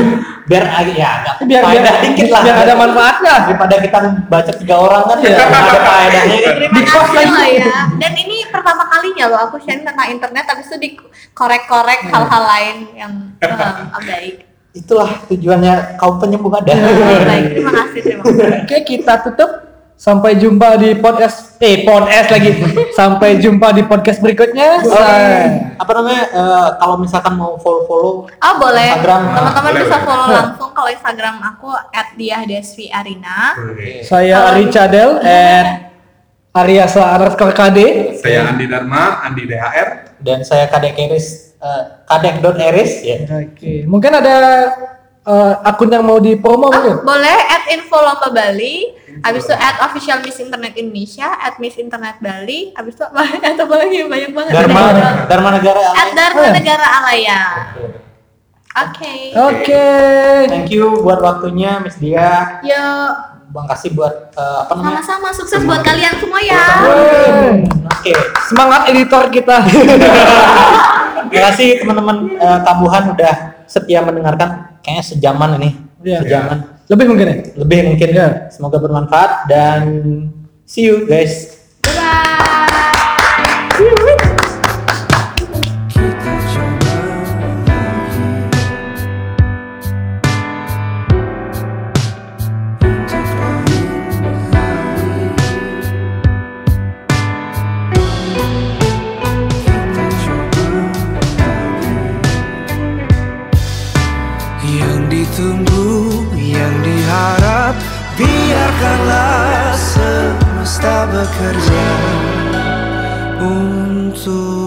*laughs* biar ag- ya agak
Biar biar,
faedah dikit lah.
biar ada manfaatnya.
daripada kita baca tiga orang kan
Iya.
ya ada faedahnya kan.
Terima kasih loh ya. Dan ini pertama kalinya loh aku sharing tentang internet, habis itu dikorek-korek hal-hal lain yang eh, baik.
Itulah tujuannya kaum penyembuh ada.
Iya.
baik. Terima kasih, terima kasih.
Oke, kita tutup. Sampai jumpa di podcast eh podcast lagi. Sampai jumpa di podcast berikutnya. Bye.
apa namanya eh, kalau misalkan mau follow follow
Oh boleh,
Instagram.
teman-teman
Boleh,
bisa
boleh.
follow langsung kalau Instagram aku @diahdesviarina.
Saya Ari Cadel at Ariasa underscore KD.
saya Andi Dharma Andi DHR
dan saya kadek eris eh, kadek dot eris ya
Oke, mungkin ada eh, akun yang mau dipromo
Oh,
mungkin.
boleh at info lomba Bali, habis itu at official Miss Internet Indonesia, at Miss Internet Bali, habis itu *laughs* apa, at apa lagi banyak banget.
dharma dharma negara
At Dharma Negara Alaya. Oke.
Oke.
thank you buat waktunya miss dia
Yuk,
bang kasih buat eh, apa namanya
sama-sama sukses buat kalian semua ya.
Yeay.
oke
Semangat editor *laughs* kita.
terima kasih teman-teman eh, tabuhan udah setia mendengarkan kayaknya sejaman ini
Iya.
sejaman
Lebih mungkin ya.
lebih mungkin
Iya.
semoga bermanfaat dan see you guys
Bye.
Kita coba lagi untuk lain kali. Kita coba lagi. Yang ditunggu, yang diharap, biarkanlah semesta bekerja untuk.